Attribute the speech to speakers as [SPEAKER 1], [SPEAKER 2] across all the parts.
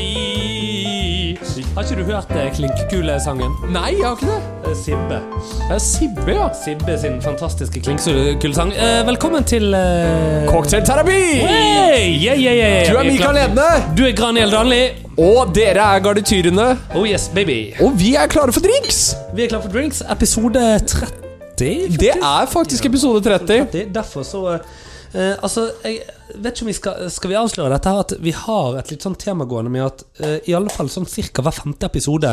[SPEAKER 1] mi. Har ikke du hørt eh, Klinkekule-sangen?
[SPEAKER 2] Nei, jeg har ikke det.
[SPEAKER 1] Eh, Sibbe.
[SPEAKER 2] Det er Sibbe, ja.
[SPEAKER 1] Sibbe sin fantastiske Klinkekule-sang. Eh, velkommen til eh...
[SPEAKER 2] Cocktailterapi!
[SPEAKER 1] Hey! Yeah, yeah, yeah.
[SPEAKER 2] Du er Mikael Edne,
[SPEAKER 1] Du er Graniel Danli.
[SPEAKER 2] og dere er Gardityrene.
[SPEAKER 1] Oh yes, baby.
[SPEAKER 2] Og vi er klare for drinks!
[SPEAKER 1] Vi er klare for drinks. Episode 30.
[SPEAKER 2] Det er faktisk episode 30.
[SPEAKER 1] Det er derfor så eh, Altså, jeg vet ikke om vi skal Skal vi avsløre dette her? At vi har et litt sånn temagående med at eh, i alle fall sånn cirka hver femte episode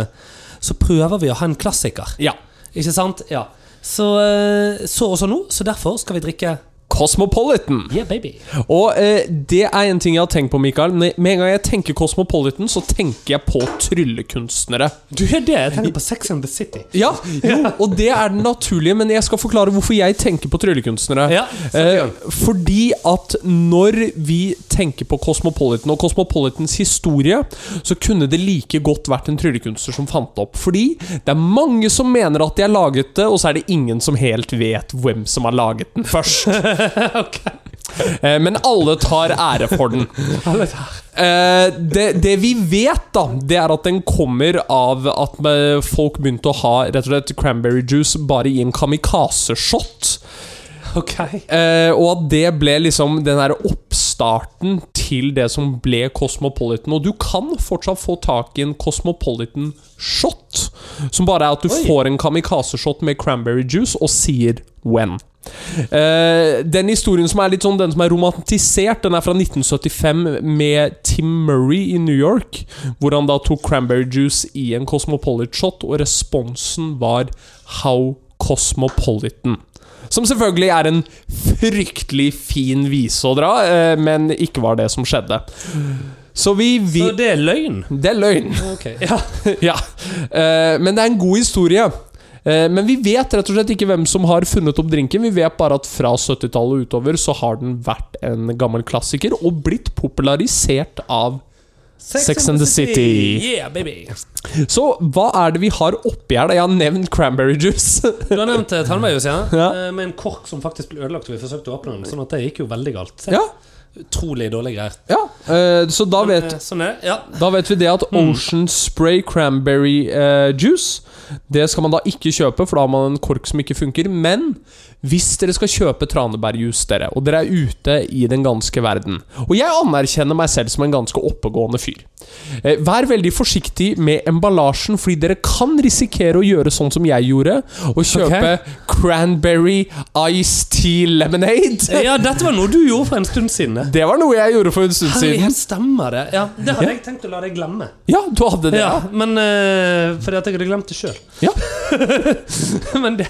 [SPEAKER 1] så prøver vi å ha en klassiker.
[SPEAKER 2] Ja.
[SPEAKER 1] Ikke sant? Ja. Så, eh, så også nå, så derfor skal vi drikke
[SPEAKER 2] Cosmopolitan.
[SPEAKER 1] Yeah, baby.
[SPEAKER 2] Og eh, det er en ting jeg har tenkt på, Mikael. Med med en gang jeg tenker Cosmopolitan, så tenker jeg på tryllekunstnere.
[SPEAKER 1] Du gjør det? Jeg tenker på Sex and the City.
[SPEAKER 2] Ja, jo, og det er den naturlige, men jeg skal forklare hvorfor jeg tenker på tryllekunstnere.
[SPEAKER 1] Ja, sett i gang.
[SPEAKER 2] Eh, fordi at når vi tenker på Cosmopolitan og Cosmopolitans historie, så kunne det like godt vært en tryllekunstner som fant det opp. Fordi det er mange som mener at de har laget det, og så er det ingen som helt vet hvem som har laget den først. Eh, men alle tar ære for den. Eh, det, det vi vet, da, det er at den kommer av at eh, folk begynte å ha rett og slett cranberry juice bare i en kamikaze-shot.
[SPEAKER 1] Ok.
[SPEAKER 2] Eh, og at det ble liksom den der oppstarten til det som ble Cosmopolitan. Og du kan fortsatt få tak i en Cosmopolitan-shot, som bare er at du
[SPEAKER 1] Oi.
[SPEAKER 2] får en kamikaze-shot med cranberry juice og sier when. Eh, den historien som er litt sånn Den som er romantisert, den er fra 1975 med Tim Murray i New York. Hvor han da tok cranberry juice i en Cosmopolitan-shot, og responsen var How Cosmopolitan. Som selvfølgelig er en fryktelig fin vise å dra, eh, men ikke var det som skjedde. Så vi, vi
[SPEAKER 1] Så det er løgn?
[SPEAKER 2] Det er løgn.
[SPEAKER 1] Ok. Ja.
[SPEAKER 2] ja. Eh, Men det er en god historie. Eh, Men vi vet rett og slett ikke hvem som har funnet opp drinken. Vi vet bare at fra 70-tallet og utover så har den vært en gammel klassiker og blitt popularisert av Sex and the City.
[SPEAKER 1] Yeah, baby.
[SPEAKER 2] Så hva er det vi har oppi her? da? Jeg har nevnt cranberry juice.
[SPEAKER 1] Du har nevnt eh, tannveihus, ja.
[SPEAKER 2] Ja.
[SPEAKER 1] Eh, Med en kork som faktisk ble ødelagt da vi forsøkte å åpne den. Sånn at det gikk jo veldig galt.
[SPEAKER 2] ja,
[SPEAKER 1] Utrolig dårlig greier.
[SPEAKER 2] ja. Eh, Så da vet,
[SPEAKER 1] Eh, Sånn er det. Ja.
[SPEAKER 2] Da vet vi det at Ocean Spray Cranberry eh, Juice Det skal man da ikke kjøpe, for da har man en kork som ikke funker. Men hvis dere skal kjøpe tranebærjus, dere, og dere er ute i den ganske verden Og jeg anerkjenner meg selv som en ganske oppegående fyr. Eh, vær veldig forsiktig med emballasjen, fordi dere kan risikere å gjøre sånn som jeg gjorde, og kjøpe Cranberry Ice Tea Lemonade.
[SPEAKER 1] ja, dette var noe du gjorde for en stund siden. det.
[SPEAKER 2] Det var noe jeg gjorde for en stund siden.
[SPEAKER 1] Herlighet, stemmer det. Ja, det hadde jeg tenkt å la deg glemme.
[SPEAKER 2] Ja, du hadde det,
[SPEAKER 1] Ja, men eh, Fordi at jeg hadde glemt det sjøl.
[SPEAKER 2] ja.
[SPEAKER 1] men det,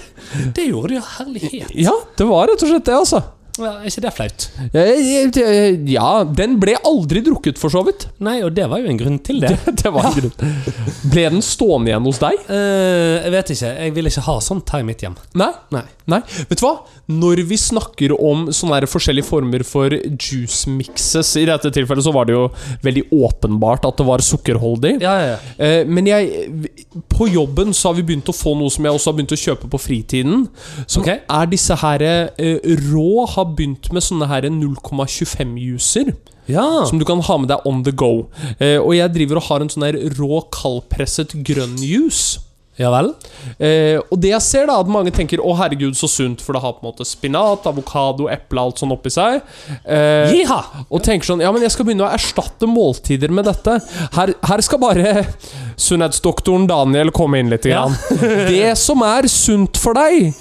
[SPEAKER 1] det gjorde du, ja. Herlighet.
[SPEAKER 2] Ja, det var rett og slett det, altså.
[SPEAKER 1] Ja, er ikke det flaut?
[SPEAKER 2] Eh, eh, Ja, den ble aldri drukket, for så vidt.
[SPEAKER 1] Nei, og det var jo en grunn til det.
[SPEAKER 2] Det var en grunn. Ble den stående igjen hos deg?
[SPEAKER 1] Eh, jeg vet ikke. Jeg vil ikke ha sånt her i mitt hjem.
[SPEAKER 2] Nei.
[SPEAKER 1] Nei.
[SPEAKER 2] Nei. Vet du hva? Når vi snakker om sånne her forskjellige former for juice mixes I dette tilfellet så var det jo veldig åpenbart at det var sukkerholdig.
[SPEAKER 1] Ja, ja, ja.
[SPEAKER 2] Eh, Men jeg På jobben så har vi begynt å få noe som jeg også har begynt å kjøpe på fritiden. Som
[SPEAKER 1] Ok.
[SPEAKER 2] er disse her eh, Rå har begynt med sånne her 0,25-juicer.
[SPEAKER 1] Ja.
[SPEAKER 2] Som du kan ha med deg on the go. Eh, og jeg driver og har en sånn her rå, kaldpresset grønn juice.
[SPEAKER 1] ja vel?
[SPEAKER 2] Eh, og det jeg ser, da, at mange tenker 'Å, herregud, så sunt', for det har på en måte spinat, avokado, eple, alt sånn oppi seg. Eh,
[SPEAKER 1] Jiha!
[SPEAKER 2] og tenker sånn Ja, men jeg skal begynne å erstatte måltider med dette. Her, her skal bare sunnhetsdoktoren Daniel komme inn litt.
[SPEAKER 1] Ja.
[SPEAKER 2] Grann. Det som er sunt for deg,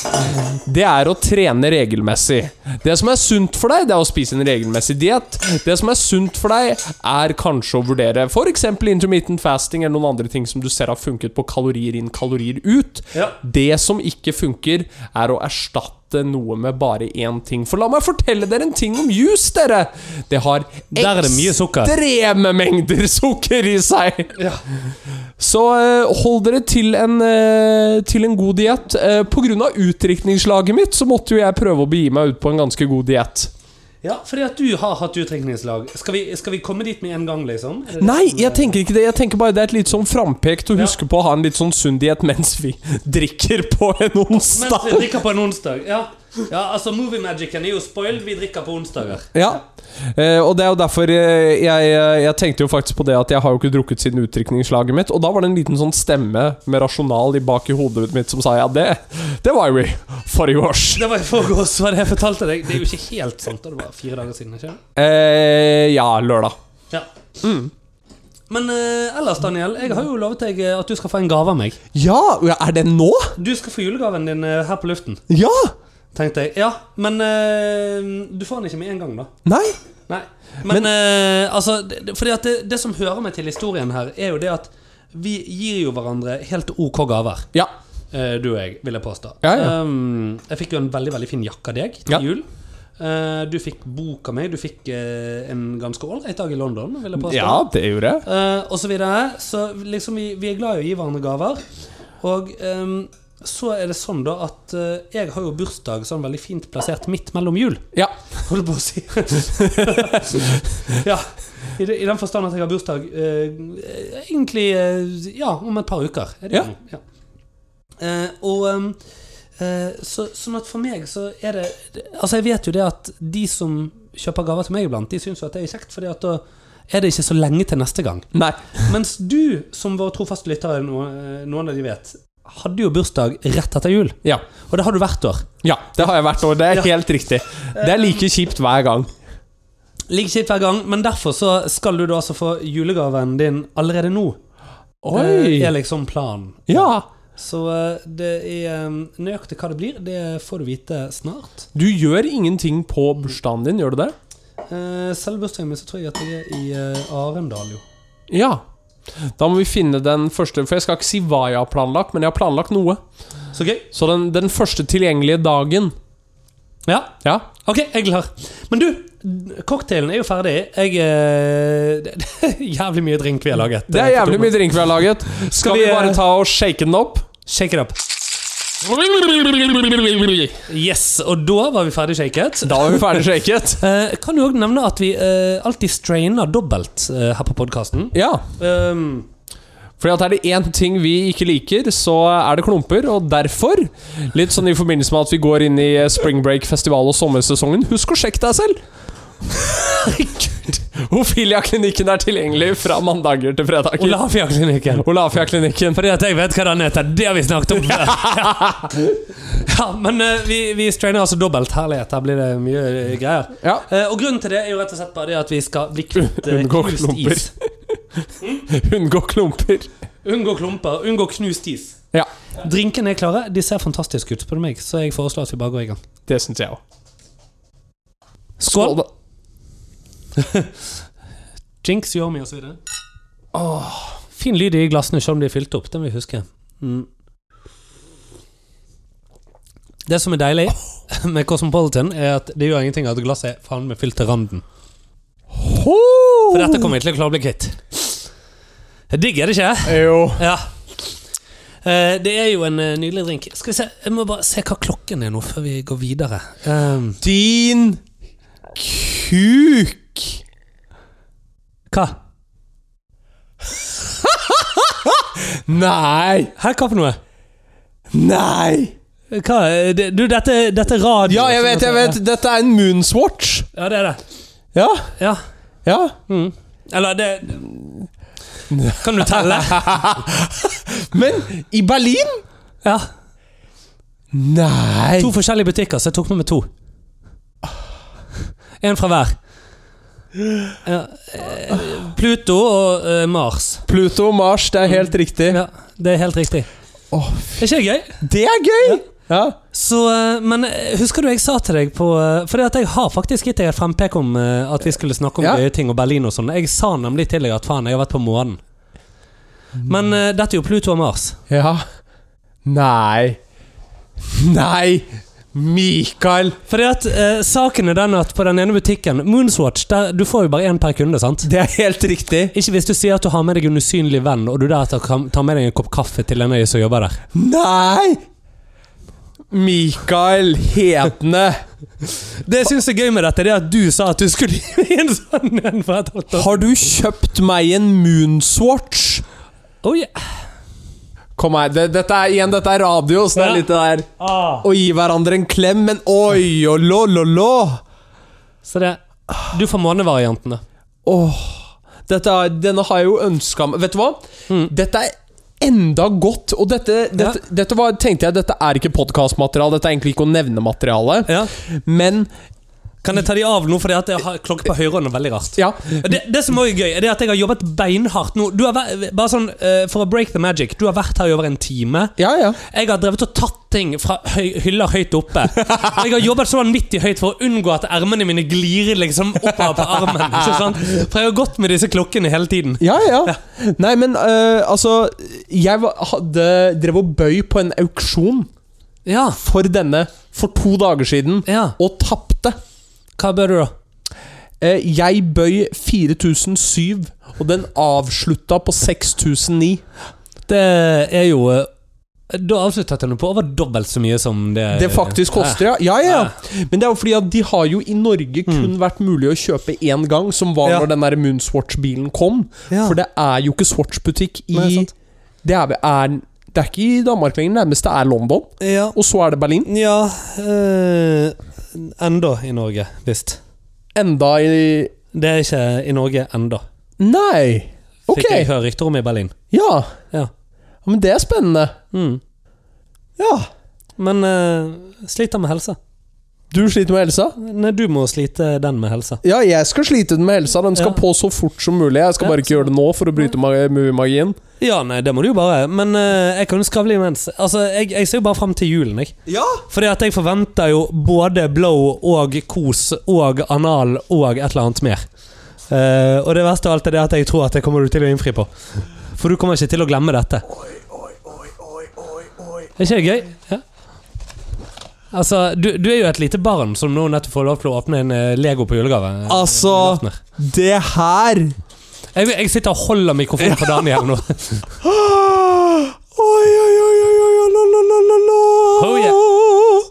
[SPEAKER 2] det er å trene regelmessig. Det som er sunt for deg, det er å spise en regelmessig diett. Det som er sunt for deg, er kanskje å vurdere f.eks. intermittent fasting eller noen andre ting som du ser har funket på kalorier inn, kalorier ut.
[SPEAKER 1] Ja.
[SPEAKER 2] Det som ikke funker, er å erstatte noe med bare én ting. For la meg fortelle dere en ting om juice, dere! Det har
[SPEAKER 1] Der er det mye sukker.
[SPEAKER 2] ekstreme mengder sukker i seg! Så eh, hold dere til en, eh, til en god diett. Eh, på grunn av utdrikningslaget mitt så måtte jo jeg prøve å begi meg ut på en ganske god diett.
[SPEAKER 1] Ja, fordi at du har hatt utdrikningslag. Skal, vi- skal vi komme dit med en gang, liksom? Er det det
[SPEAKER 2] Nei,
[SPEAKER 1] som er-
[SPEAKER 2] jeg tenker ikke det. Jeg tenker bare det er et litt sånn frampek til å
[SPEAKER 1] Ja.
[SPEAKER 2] huske på å ha en litt sånn sunn diett mens vi drikker på en
[SPEAKER 1] Mens
[SPEAKER 2] onsdag.
[SPEAKER 1] vi drikker på en onsdag. Ja. Ja, altså Movie Magicen er jo spoiled. Vi drikker på onsdager.
[SPEAKER 2] Ja, eh, og det er jo derfor eh, jeg, jeg tenkte jo faktisk på det at jeg har jo ikke drukket siden utdrikningslaget mitt, og da var det en liten sånn stemme med rasjonal i bak i hodet mitt som sa ja, det, det var jo i forrige års.
[SPEAKER 1] Det var i forgårs, var det jeg fortalte deg. Det er jo ikke helt sant. og Det var fire dager siden. ikke?
[SPEAKER 2] Eh, ja, lørdag.
[SPEAKER 1] Ja. Men eh, ellers, Daniel, jeg har jo lovet deg eh, at du skal få en gave av meg.
[SPEAKER 2] Ja, er det nå?
[SPEAKER 1] Du skal få julegaven din eh, her på luften,
[SPEAKER 2] Ja!
[SPEAKER 1] tenkte jeg. Ja, men eh, du får den ikke med en gang, da.
[SPEAKER 2] Nei.
[SPEAKER 1] Nei. Men, eh, altså det- det- Fordi at det, det som hører meg til historien her, er jo det at vi gir jo hverandre helt ok gaver.
[SPEAKER 2] Ja.
[SPEAKER 1] eh, Du og jeg, vil jeg påstå.
[SPEAKER 2] Ja, ja.
[SPEAKER 1] Um, jeg fikk jo en veldig veldig fin jakke av deg til
[SPEAKER 2] Ja.
[SPEAKER 1] jul. Eh, du fikk bok av meg. Du fikk eh, en ganske ålreit dag i London, vil jeg påstå.
[SPEAKER 2] ja, det gjorde jeg.
[SPEAKER 1] Eh, og så videre. Så liksom vi, vi er glad i å gi hverandre gaver. Og ehm, så er det sånn da at eh, jeg har jo bursdag sånn veldig fint plassert midt mellom jul.
[SPEAKER 2] Ja.
[SPEAKER 1] Holdt på å si. ja. I, de- I den forstand at jeg har bursdag eh, egentlig eh, ja, om et par uker. Er det
[SPEAKER 2] Ja.
[SPEAKER 1] jo? ja. Eh, og ehm, eh, så, sånn at for meg så er det Altså, jeg vet jo det at de som kjøper gaver til meg iblant, de syns jo at det er kjekt, fordi at da er det ikke så lenge til neste gang.
[SPEAKER 2] Nei.
[SPEAKER 1] Mens du, som vår trofaste lyttere, noe- eh, noen av de vet, hadde jo bursdag rett etter jul.
[SPEAKER 2] Ja.
[SPEAKER 1] Og det har du hvert år.
[SPEAKER 2] ja, det har jeg hvert år. Det er
[SPEAKER 1] Ja.
[SPEAKER 2] helt riktig. Det er like kjipt hver gang.
[SPEAKER 1] Like kjipt hver gang, men derfor så skal du da altså få julegaven din allerede nå.
[SPEAKER 2] Eh,
[SPEAKER 1] Det er
[SPEAKER 2] Oi!
[SPEAKER 1] liksom planen.
[SPEAKER 2] Ja.
[SPEAKER 1] Så eh, det er eh, nøyaktig hva det blir, det får du vite snart.
[SPEAKER 2] Du gjør ingenting på bursdagen din, gjør du det?
[SPEAKER 1] Eh, Selve bursdagen min så tror jeg at jeg er i eh, Arendal, jo.
[SPEAKER 2] Ja. Da må vi finne den første, for jeg skal ikke si hva jeg har planlagt, men jeg har planlagt noe.
[SPEAKER 1] Så gøy.
[SPEAKER 2] Så den, den første tilgjengelige dagen
[SPEAKER 1] Ja,
[SPEAKER 2] Ja.
[SPEAKER 1] ok, jeg er klar. Men du, cocktailen er jo ferdig. Jeg eh, det- det er Jævlig mye drink vi har laget.
[SPEAKER 2] Det er jævlig mye drink vi har laget. Skal vi
[SPEAKER 1] vi, eh,
[SPEAKER 2] bare ta og shake den opp?
[SPEAKER 1] Shake it up. Yes, og da var vi ferdig shaket.
[SPEAKER 2] Da er vi ferdig shaket.
[SPEAKER 1] Eh, kan jo også nevne at vi eh, alltid strainer dobbelt eh, her på podkasten.
[SPEAKER 2] Ja.
[SPEAKER 1] Um,
[SPEAKER 2] Ehm, Fordi at er det én ting vi ikke liker, så er det klumper. Og derfor, litt sånn i forbindelse med at vi går inn i eh, spring break-festival og sommersesongen, husk å sjekke deg selv! Herregud. Ofilia-klinikken er tilgjengelig fra mandager til fredager.
[SPEAKER 1] Olavia-klinikken.
[SPEAKER 2] Olafia-klinikken.
[SPEAKER 1] Fordi at jeg vet hva den heter. Det har vi snakket om før. ja, men eh, vi, vi strainer altså dobbelt. Herlighet, her blir det mye eh, greier.
[SPEAKER 2] Ja.
[SPEAKER 1] Eh, og grunnen til det er jo rett og slett bare det at vi skal bli kvitt eh,
[SPEAKER 2] Unngå
[SPEAKER 1] knust
[SPEAKER 2] klumper.
[SPEAKER 1] is.
[SPEAKER 2] Unngå klumper.
[SPEAKER 1] Unngå klumper. Unngå knust is.
[SPEAKER 2] Ja.
[SPEAKER 1] Drinkene er klare. De ser fantastiske ut, spør du meg, så jeg foreslår at vi bare går i gang.
[SPEAKER 2] Det syns jeg òg.
[SPEAKER 1] Skål! Jinx, Yomi osv. Fin lyd i glassene selv om de er fylt opp. Den vil jeg huske. Mm. Det som er deilig med Cosmopolitan, er at det gjør ingenting at glasset er faen meg fylt til randen. For dette kommer jeg til å klare å bli kvitt. Digg, er det ikke?
[SPEAKER 2] Jo.
[SPEAKER 1] Ja. Eh, Det er jo en eh, nydelig drink. Skal vi se, Jeg må bare se hva klokken er nå, før vi går videre. Um,
[SPEAKER 2] Din kuk!
[SPEAKER 1] hva?
[SPEAKER 2] Nei!
[SPEAKER 1] Hæ, hva for noe?
[SPEAKER 2] Nei!
[SPEAKER 1] Hva? eh, det- Du, dette, dette er radio.
[SPEAKER 2] Ja, jeg
[SPEAKER 1] som
[SPEAKER 2] vet,
[SPEAKER 1] sier.
[SPEAKER 2] jeg vet. Dette er en Moonswatch.
[SPEAKER 1] Ja, det er det.
[SPEAKER 2] Ja.
[SPEAKER 1] Ja.
[SPEAKER 2] ja.
[SPEAKER 1] Eller det Kan du telle?
[SPEAKER 2] Men i Berlin?
[SPEAKER 1] Ja.
[SPEAKER 2] Nei.
[SPEAKER 1] To forskjellige butikker, så jeg tok med meg to. En fra hver. Ja. eh, Pluto og eh, Mars.
[SPEAKER 2] Pluto og Mars, det er helt riktig.
[SPEAKER 1] Ja, det er helt riktig.
[SPEAKER 2] Åh,
[SPEAKER 1] Er ikke det gøy?
[SPEAKER 2] det er gøy! Ja.
[SPEAKER 1] Så, eh, men eh, husker du jeg sa til deg på eh, Fordi at jeg har faktisk gitt deg et frempek om eh, at vi skulle snakke om
[SPEAKER 2] Ja.
[SPEAKER 1] gøye ting og Berlin og sånn. Jeg sa nemlig til deg at faen, jeg har vært på månen. Men eh, dette er jo Pluto og Mars.
[SPEAKER 2] ja. Nei. Nei! Mikael!
[SPEAKER 1] Fordi at eh, saken er den at på den ene butikken, Moonswatch, der, du får jo bare én per kunde, sant?
[SPEAKER 2] Det er helt riktig.
[SPEAKER 1] Ikke hvis du sier at du har med deg en usynlig venn, og du deretter kan ta med deg en kopp kaffe til en av de som jobber der.
[SPEAKER 2] Nei! Mikael Hedne.
[SPEAKER 1] Det jeg syns er gøy med dette, det er at du sa at du skulle gi en sånn en for et halvt år.
[SPEAKER 2] Har du kjøpt meg en Moonswatch?
[SPEAKER 1] Oh, yeah.
[SPEAKER 2] Kom her. Det, dette er igjen, dette er radio, så det er
[SPEAKER 1] Ja.
[SPEAKER 2] litt det der
[SPEAKER 1] Ah.
[SPEAKER 2] Å gi hverandre en klem, men oi og lå, lå, lå.
[SPEAKER 1] Så det Du får månevariantene.
[SPEAKER 2] Åh. Dette, er- denne har jeg jo ønska meg Vet du hva?
[SPEAKER 1] Mm.
[SPEAKER 2] Dette er enda godt, og dette, dette, dette var, tenkte jeg Dette er ikke podkastmateriale, dette er egentlig ikke å nevne materiale,
[SPEAKER 1] Ja.
[SPEAKER 2] men
[SPEAKER 1] Kan jeg ta de av nå, fordi at jeg har klokke på høyrehånden er veldig rart.
[SPEAKER 2] ja.
[SPEAKER 1] Det, det som også er gøy, er det at jeg har jobbet beinhardt nå. Du har vært, bare sånn, eh, For å break the magic. Du har vært her i over en time.
[SPEAKER 2] Ja, ja.
[SPEAKER 1] Jeg har drevet og tatt ting fra høy, hyller høyt oppe. Og jeg har jobbet så vanvittig høyt for å unngå at ermene mine glir liksom oppover på armen. Ikke sant? For jeg har gått med disse klokkene hele tiden.
[SPEAKER 2] Ja, ja. Nei, men eh, altså Jeg var, hadde, drev og bøy på en auksjon
[SPEAKER 1] Ja,
[SPEAKER 2] for denne for to dager siden,
[SPEAKER 1] ja.
[SPEAKER 2] og tapte.
[SPEAKER 1] Hva bør du, da?
[SPEAKER 2] Eh, jeg bøy 4007, og den avslutta på 6009.
[SPEAKER 1] Det er jo eh, Da avsluttet jeg nå på over dobbelt så mye som det
[SPEAKER 2] Det faktisk
[SPEAKER 1] eh.
[SPEAKER 2] koster, ja. ja, ja, ja. Men det er jo fordi at de har jo i Norge kun vært mulig å kjøpe én gang, som var
[SPEAKER 1] Mm. Ja.
[SPEAKER 2] når den der Moonswatch-bilen kom.
[SPEAKER 1] Ja.
[SPEAKER 2] For det er jo ikke Swatch-butikk i
[SPEAKER 1] Nei, sant.
[SPEAKER 2] det er, er, det er ikke i Danmark lenger. Nærmeste er London,
[SPEAKER 1] Ja,
[SPEAKER 2] og så er det Berlin.
[SPEAKER 1] ja eh, Enda i Norge, visst.
[SPEAKER 2] Enda i
[SPEAKER 1] Det er ikke i Norge enda
[SPEAKER 2] Nei! Ok.
[SPEAKER 1] Fikk jeg høre rykter om i Berlin.
[SPEAKER 2] Ja.
[SPEAKER 1] Ja.
[SPEAKER 2] Ja, Men det er spennende.
[SPEAKER 1] Mm.
[SPEAKER 2] Ja.
[SPEAKER 1] Men eh, sliter med helse.
[SPEAKER 2] Du sliter med helsa?
[SPEAKER 1] Nei, du må slite den med helse.
[SPEAKER 2] Ja, jeg skal slite med helsa. Den skal
[SPEAKER 1] Ja.
[SPEAKER 2] på så fort som mulig. Jeg skal
[SPEAKER 1] Ja,
[SPEAKER 2] bare ikke
[SPEAKER 1] så-
[SPEAKER 2] gjøre det nå for å bryte ma- movie-magien.
[SPEAKER 1] Ja, nei, det må du jo bare. Men eh, jeg kan jo skravle imens. Altså, jeg, jeg ser jo bare fram til julen, jeg.
[SPEAKER 2] Ja.
[SPEAKER 1] Fordi at jeg forventer jo både blow og kos og anal og et eller annet mer. Eh, og det verste av alt er det at jeg tror at det kommer du til å innfri på. For du kommer ikke til å glemme dette. Er ikke det gøy? Ja. Altså, du, du er jo et lite barn som nå nettopp får lov til å åpne en eh, Lego på julegave.
[SPEAKER 2] Altså
[SPEAKER 1] Lattner.
[SPEAKER 2] Det her
[SPEAKER 1] Jeg, jeg sitter og holder mikrofonen for Daniel nå.
[SPEAKER 2] Oi, oi, oi, oi, oi, la, la, la, la, la.
[SPEAKER 1] Oh,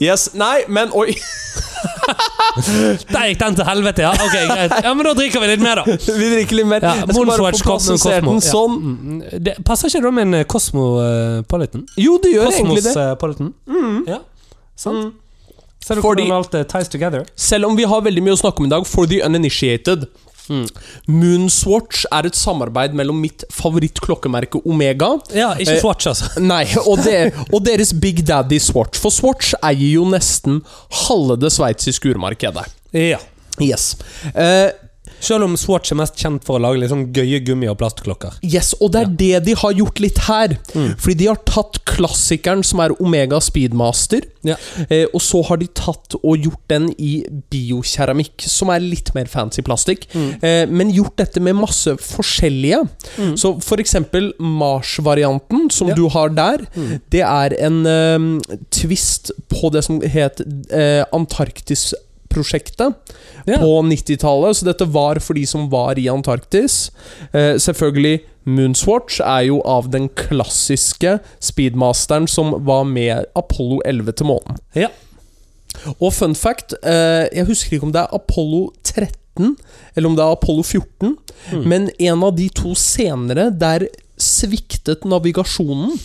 [SPEAKER 2] Yes. Nei, men oi.
[SPEAKER 1] Der gikk den til helvete, ja. Ok, greit. Ja, men da drikker vi litt mer, da.
[SPEAKER 2] Vi drikker litt mer.
[SPEAKER 1] Ja,
[SPEAKER 2] Jeg skal bare
[SPEAKER 1] Moonswatch,
[SPEAKER 2] få
[SPEAKER 1] Cosmo,
[SPEAKER 2] prosessert den
[SPEAKER 1] Cosmo. Ja.
[SPEAKER 2] sånn.
[SPEAKER 1] Mm, Det, passer ikke det med en eh, Cosmopolitan?
[SPEAKER 2] Jo, det gjør egentlig det. Mm.
[SPEAKER 1] Cosmopolitan? Ja, sant? Ser du
[SPEAKER 2] Fordi-
[SPEAKER 1] hvordan alt eh, ties together?
[SPEAKER 2] Selv om vi har veldig mye å snakke om i dag for the uninitiated. Moonswatch er et samarbeid mellom mitt favorittklokkemerke Omega
[SPEAKER 1] Ja, ikke
[SPEAKER 2] Eh,
[SPEAKER 1] Swatch, altså.
[SPEAKER 2] Nei, og, det, og deres Big Daddy Swatch. For Swatch eier jo nesten halve det sveitsiske urmarkedet.
[SPEAKER 1] Ja.
[SPEAKER 2] Yes. Eh,
[SPEAKER 1] Selv om Swatch er mest kjent for å lage litt sånn gøye gummi- og plastklokker.
[SPEAKER 2] yes, Og det er det de har gjort litt her.
[SPEAKER 1] Mm.
[SPEAKER 2] Fordi de har tatt klassikeren som er Omega Speedmaster,
[SPEAKER 1] Ja.
[SPEAKER 2] eh, og så har de tatt og gjort den i biokeramikk, som er litt mer fancy plastikk.
[SPEAKER 1] Mm.
[SPEAKER 2] Eh, men gjort dette med masse forskjellige. Så for eksempel Mars-varianten, som
[SPEAKER 1] Ja. Mm.
[SPEAKER 2] du har der, det er en eh, twist på det som het eh, Antarktis-prosjektet
[SPEAKER 1] Ja.
[SPEAKER 2] på 90-tallet. Så dette var for de som var i Antarktis. Eh, selvfølgelig Moonswatch er jo av den klassiske speedmasteren som var med Apollo 11 til månen.
[SPEAKER 1] Ja.
[SPEAKER 2] Og fun fact, eh, jeg husker ikke om det er Apollo 13 eller om det er Apollo 14,
[SPEAKER 1] Mm.
[SPEAKER 2] men en av de to senere, der sviktet navigasjonen.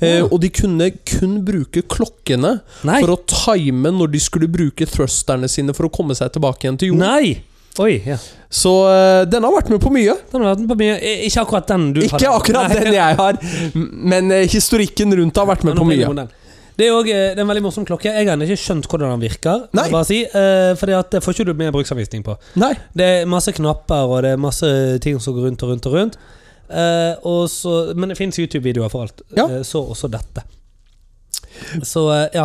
[SPEAKER 2] Eh,
[SPEAKER 1] Ja.
[SPEAKER 2] og de kunne kun bruke klokkene
[SPEAKER 1] Nei!
[SPEAKER 2] for å time når de skulle bruke thrusterne sine for å komme seg tilbake igjen til jorden.
[SPEAKER 1] Nei! Oi, ja.
[SPEAKER 2] Så eh, den har vært med på mye.
[SPEAKER 1] Den har vært på mye. I- Ikke akkurat den du
[SPEAKER 2] Ikke akkurat
[SPEAKER 1] Nei.
[SPEAKER 2] den jeg har, m- men eh, historikken rundt har vært med
[SPEAKER 1] Men
[SPEAKER 2] på
[SPEAKER 1] nå blir
[SPEAKER 2] mye.
[SPEAKER 1] det modell. Det er, jo også, eh, det er en veldig morsom klokke. Jeg har ikke skjønt hvordan den virker. må
[SPEAKER 2] Nei.
[SPEAKER 1] jeg Bare si, eh, fordi at Det får ikke du med bruksanvisning på.
[SPEAKER 2] Nei.
[SPEAKER 1] Det er masse knapper, og det er masse ting som går rundt og rundt og rundt. Eh, og så, men det fins YouTube-videoer for alt.
[SPEAKER 2] Ja.
[SPEAKER 1] Eh, så også dette. Så, eh, ja.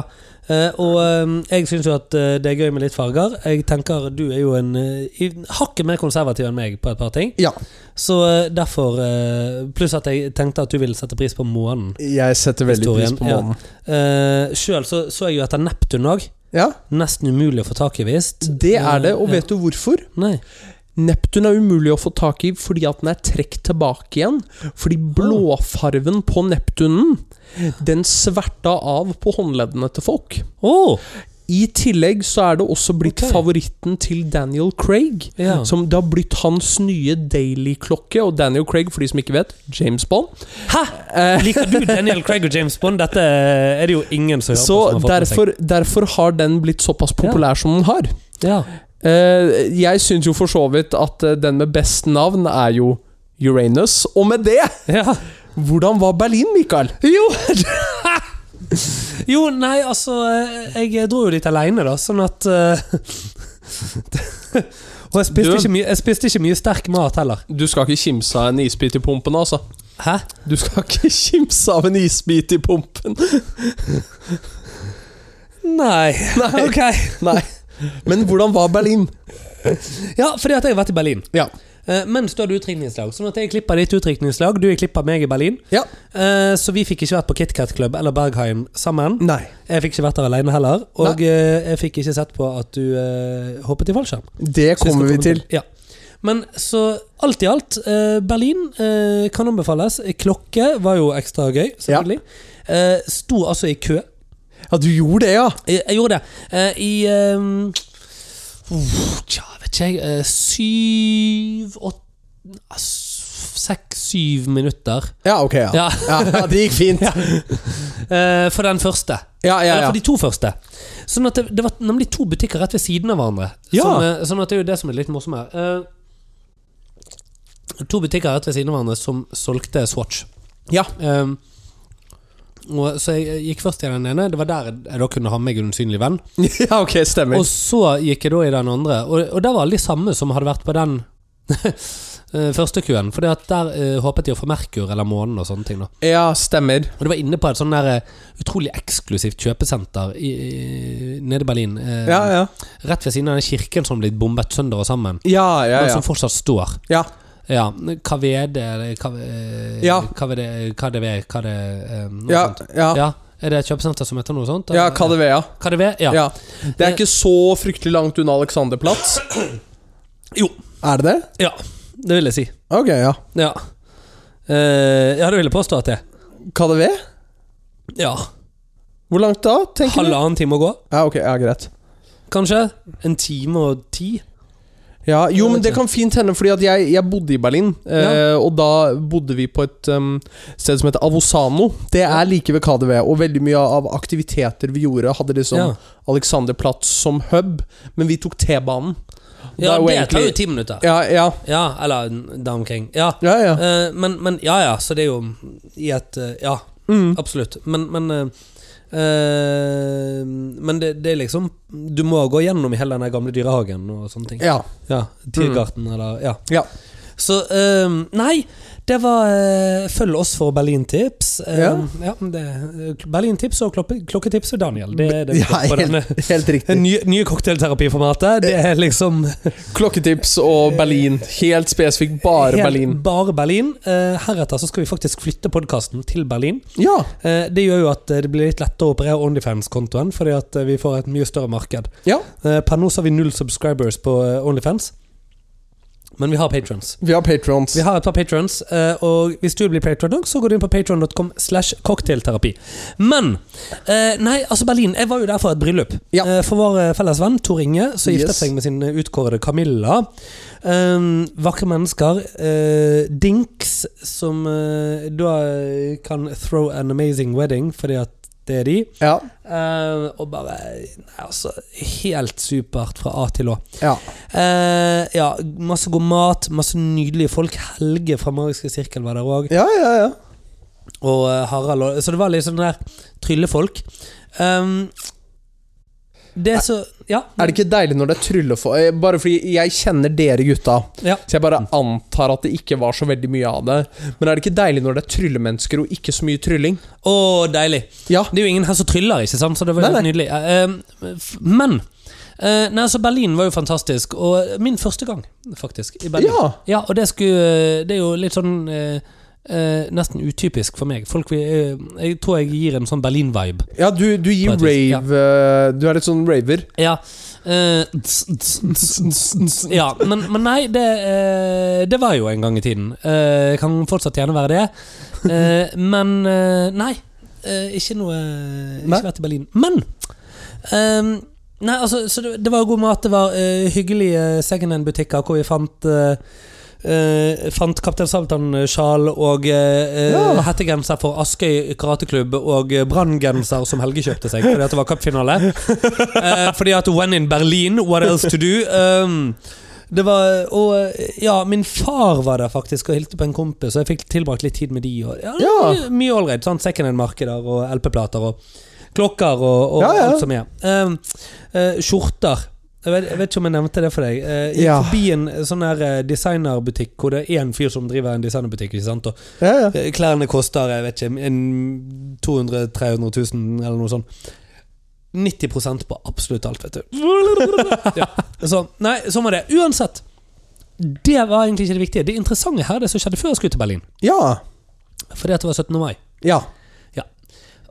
[SPEAKER 1] Eh, og eh, jeg syns jo at eh, det er gøy med litt farger. Jeg tenker Du er jo en eh, i- hakket mer konservativ enn meg på et par ting.
[SPEAKER 2] Ja.
[SPEAKER 1] Så eh, derfor eh, Pluss at jeg tenkte at du ville sette pris på månen.
[SPEAKER 2] Jeg setter veldig pris
[SPEAKER 1] Historien,
[SPEAKER 2] på
[SPEAKER 1] ja.
[SPEAKER 2] månen.
[SPEAKER 1] Uh, Sjøl så, så jeg jo etter Neptun òg.
[SPEAKER 2] Ja.
[SPEAKER 1] Nesten umulig å få tak i, visst.
[SPEAKER 2] Det er det, og
[SPEAKER 1] Ja.
[SPEAKER 2] vet du hvorfor?
[SPEAKER 1] Nei.
[SPEAKER 2] Neptun er umulig å få tak i fordi at den er trukket tilbake igjen. Fordi blåfarven på Neptunen, den sverta av på håndleddene til folk.
[SPEAKER 1] Åh,
[SPEAKER 2] I tillegg så er det også blitt
[SPEAKER 1] Ok.
[SPEAKER 2] favoritten til Daniel Craig.
[SPEAKER 1] Ja.
[SPEAKER 2] Som Det har blitt hans nye daily-klokke. Og Daniel Craig, for de som ikke vet, James Bond.
[SPEAKER 1] Hæ?
[SPEAKER 2] Eh,
[SPEAKER 1] Liker du Daniel Craig og James Bond? Dette er det jo ingen som hører på.
[SPEAKER 2] så
[SPEAKER 1] som har fått med
[SPEAKER 2] derfor, derfor har den blitt såpass populær som den har.
[SPEAKER 1] seg. Ja.
[SPEAKER 2] Eh, jeg syns jo for så vidt at eh, den med best navn er jo Uranus. Og med det,
[SPEAKER 1] Ja.
[SPEAKER 2] hvordan var Berlin, Mikael?
[SPEAKER 1] Jo Jo, nei, altså eh, Jeg dro jo litt aleine, da, sånn at eh, Og jeg spiste,
[SPEAKER 2] Du-
[SPEAKER 1] ikke mye, jeg spiste ikke mye sterk mat heller.
[SPEAKER 2] Du skal ikke kimse av en isbit i pumpen, altså.
[SPEAKER 1] Hæ?
[SPEAKER 2] Du skal ikke kimse av en isbit i pumpen.
[SPEAKER 1] Nei.
[SPEAKER 2] Nei.
[SPEAKER 1] Ok.
[SPEAKER 2] Nei. Men hvordan var Berlin?
[SPEAKER 1] Ja, fordi at jeg har vært i Berlin.
[SPEAKER 2] Ja.
[SPEAKER 1] Eh, mens du hadde utdrikningslag. Sånn at jeg klippa ditt utdrikningslag, du er klippa meg i Berlin.
[SPEAKER 2] Ja.
[SPEAKER 1] Eh, så vi fikk ikke vært på KitKat Club eller Berghain sammen.
[SPEAKER 2] Nei.
[SPEAKER 1] Jeg fikk ikke vært der aleine heller. Og eh, jeg fikk ikke sett på at du eh, hoppet i fallskjerm.
[SPEAKER 2] Det
[SPEAKER 1] Så jeg skal
[SPEAKER 2] kommer vi
[SPEAKER 1] komme
[SPEAKER 2] til.
[SPEAKER 1] Ja. Men så alt i alt, eh, Berlin eh, kan anbefales. Klokke var jo ekstra gøy, selvfølgelig. Eh, sto altså i kø.
[SPEAKER 2] Ja, du gjorde det, ja.
[SPEAKER 1] Jeg, jeg gjorde det. Eh, I um, uh, Tja, vet ikke jeg. Eh, syv, åtte Seks-syv minutter.
[SPEAKER 2] Ja, ok, ja.
[SPEAKER 1] Ja.
[SPEAKER 2] ja, det gikk fint. Ja,
[SPEAKER 1] Eh, for den første.
[SPEAKER 2] ja, ja.
[SPEAKER 1] Eller for de to første. Sånn at det, det var nemlig to butikker rett ved siden av hverandre.
[SPEAKER 2] Ja.
[SPEAKER 1] Som, eh, sånn at det er jo det som er litt morsomt her. Eh, to butikker rett ved siden av hverandre som solgte Swatch.
[SPEAKER 2] Ja.
[SPEAKER 1] Eh, og, så jeg eh, gikk først i den ene. Det var der jeg da kunne ha med meg en usynlig venn.
[SPEAKER 2] ja ok, stemmer.
[SPEAKER 1] Og så gikk jeg da i den andre, og, og der var alle de samme som hadde vært på den eh, første køen. For der eh, håpet de å få Merkur eller månen og sånne ting. da
[SPEAKER 2] Ja, stemmer.
[SPEAKER 1] og det var inne på et sånn der eh, utrolig eksklusivt kjøpesenter i, i, nede i Berlin. eh,
[SPEAKER 2] Ja, ja.
[SPEAKER 1] Rett ved siden av den kirken som ble bombet sønder og sammen.
[SPEAKER 2] Ja, ja,
[SPEAKER 1] Men
[SPEAKER 2] ja.
[SPEAKER 1] som fortsatt står.
[SPEAKER 2] Ja,
[SPEAKER 1] Ja. KVD eller K- eh,
[SPEAKER 2] Ja.
[SPEAKER 1] KVD, KDV KD, eh, noe
[SPEAKER 2] ja.
[SPEAKER 1] sånt.
[SPEAKER 2] ja.
[SPEAKER 1] ja. Er det et kjøpesenter som heter noe sånt?
[SPEAKER 2] Ja,
[SPEAKER 1] eller?
[SPEAKER 2] KDV, ja.
[SPEAKER 1] KDV? Ja.
[SPEAKER 2] ja. Det er ikke så fryktelig langt unna Alexanderplatz.
[SPEAKER 1] Jo.
[SPEAKER 2] Er det det?
[SPEAKER 1] ja. Det vil jeg si.
[SPEAKER 2] Ok, ja.
[SPEAKER 1] Ja. Eh, ja, det vil jeg påstå at det er.
[SPEAKER 2] KDV?
[SPEAKER 1] Ja.
[SPEAKER 2] Hvor langt da, tenker du?
[SPEAKER 1] Halvannen time å gå,
[SPEAKER 2] Ja, ok, ja, greit.
[SPEAKER 1] kanskje? En time og ti?
[SPEAKER 2] Ja, jo,
[SPEAKER 1] Jeg
[SPEAKER 2] men
[SPEAKER 1] vet
[SPEAKER 2] det
[SPEAKER 1] ikke.
[SPEAKER 2] kan fint hende, fordi at jeg, jeg bodde i Berlin.
[SPEAKER 1] Ja.
[SPEAKER 2] Eh, og da bodde vi på et em, sted som heter Avosano. Det er like ved KDV. Og veldig mye av aktiviteter vi gjorde, hadde liksom
[SPEAKER 1] Ja.
[SPEAKER 2] Alexanderplatz som hub, men vi tok T-banen.
[SPEAKER 1] Ja,
[SPEAKER 2] er jo
[SPEAKER 1] det tar
[SPEAKER 2] egentlig-
[SPEAKER 1] jo ti minutter.
[SPEAKER 2] Ja, ja.
[SPEAKER 1] Ja, eller n- der omkring. Ja.
[SPEAKER 2] Ja, ja.
[SPEAKER 1] Eh, men, men ja ja, så det er jo i et eh, Ja,
[SPEAKER 2] Mm.
[SPEAKER 1] absolutt. Men, men eh, eh, Men det, det er liksom Du må gå gjennom hele den der gamle dyrehagen og sånne ting.
[SPEAKER 2] ja. Mm.
[SPEAKER 1] Ja, Tiergarten eller Ja.
[SPEAKER 2] Ja.
[SPEAKER 1] Så eh, Nei, det var eh, Følg oss for Berlintips. Eh,
[SPEAKER 2] Ja.
[SPEAKER 1] ja, det- Berlintips og klokke, klokketips og Daniel. Det er det vi
[SPEAKER 2] Ja,
[SPEAKER 1] får på denne.
[SPEAKER 2] helt, Eh, helt riktig.
[SPEAKER 1] Nye, nye cocktailterapiformatet. Det er liksom
[SPEAKER 2] Klokketips og Berlin. Helt spesifikt bare
[SPEAKER 1] Helt
[SPEAKER 2] Berlin.
[SPEAKER 1] Bare Berlin. Eh, heretter så skal vi faktisk flytte podkasten til Berlin.
[SPEAKER 2] Ja.
[SPEAKER 1] Eh, det gjør jo at eh, det blir litt lettere å operere Onlyfans-kontoen, fordi at eh, vi får et mye større marked.
[SPEAKER 2] ja.
[SPEAKER 1] Eh, per nå så har vi null subscribers på eh, Onlyfans, men vi har patrons.
[SPEAKER 2] Vi har patrons.
[SPEAKER 1] Vi har et par patrons, eh, og hvis du blir patron òg, så går du inn på patron.com slash cocktailterapi. Men eh, Nei, altså Berlin. Jeg var jo der for et bryllup.
[SPEAKER 2] Ja.
[SPEAKER 1] Eh, For vår eh, felles venn Tor Inge, som giftet
[SPEAKER 2] Yes.
[SPEAKER 1] seg med sin eh, utkårede Camilla. Um, vakre mennesker. eh, dinks, som eh, da eh, kan throw an amazing wedding, fordi at det er de.
[SPEAKER 2] Ja.
[SPEAKER 1] Eh, og bare Nei, altså. Helt supert fra A til Å.
[SPEAKER 2] ja.
[SPEAKER 1] Eh, ja, masse god mat, masse nydelige folk. Helge fra Mariske Sirkel var der òg.
[SPEAKER 2] Ja, ja, ja.
[SPEAKER 1] Og eh, Harald og Så det var litt sånn der tryllefolk. Um, det er så Ja.
[SPEAKER 2] Er det ikke deilig når det er tryllefolk eh, Bare fordi jeg kjenner dere gutta,
[SPEAKER 1] Ja.
[SPEAKER 2] så jeg bare antar at det ikke var så veldig mye av det. Men er det ikke deilig når det er tryllemennesker og ikke så mye trylling?
[SPEAKER 1] Å, deilig.
[SPEAKER 2] Ja.
[SPEAKER 1] Det er jo ingen her som tryller, ikke sant? Så det var jo
[SPEAKER 2] Nei,
[SPEAKER 1] helt nydelig. Eh, eh, f- men eh, Nei, altså Berlin var jo fantastisk. Og min første gang, faktisk, i Berlin.
[SPEAKER 2] Ja.
[SPEAKER 1] Ja, og det, skulle, det er jo litt sånn eh, eh, Nesten utypisk for meg. Folk vil, eh, jeg tror jeg gir en sånn Berlin-vibe.
[SPEAKER 2] Ja, du, du gir
[SPEAKER 1] På et vis, ja.
[SPEAKER 2] rave eh, Du er litt sånn raver.
[SPEAKER 1] Ja. eh, tss, tss, tss, tss, tss. ja men, men nei, det, eh, det var jo en gang i tiden. Eh, kan fortsatt gjerne være det. Eh, men eh, nei. eh, ikke noe Ikke
[SPEAKER 2] Nei.
[SPEAKER 1] vært i Berlin. Men ehm, Nei, altså, så det, det var god mat. Det var eh, hyggelige secondhand-butikker hvor vi fant eh, eh, fant Kaptein Sabeltann-sjal og eh,
[SPEAKER 2] Ja.
[SPEAKER 1] hettegenser for Askøy karateklubb og eh, branngenser som Helge kjøpte seg fordi at det var cupfinale. Eh, fordi at when in Berlin, what else to do? Um, det var, og eh, ja, Min far var der faktisk og hilte på en kompis, og jeg fikk tilbrakt litt tid med de. Og, ja,
[SPEAKER 2] Ja.
[SPEAKER 1] mye- Mye ålreit. sånn Secondhand-markeder og LP-plater og klokker og, og
[SPEAKER 2] Ja, ja.
[SPEAKER 1] alt som er. Um, eh, skjorter. Jeg vet, jeg vet ikke om jeg nevnte det for deg. Eh, jeg gikk
[SPEAKER 2] Ja.
[SPEAKER 1] forbi en sånn her eh, designerbutikk hvor det er en fyr som driver en designerbutikk. ikke sant? Og
[SPEAKER 2] Ja, ja.
[SPEAKER 1] eh, klærne koster jeg vet ikke, en 200 000-300 000 eller noe sånt. 90 på absolutt alt, vet du. Ja. Så, nei, sånn var det. Uansett. Det var egentlig ikke det viktige. Det interessante her er det som skjedde før jeg skulle til Berlin.
[SPEAKER 2] Ja.
[SPEAKER 1] Fordi at det var 17. mai.
[SPEAKER 2] ja.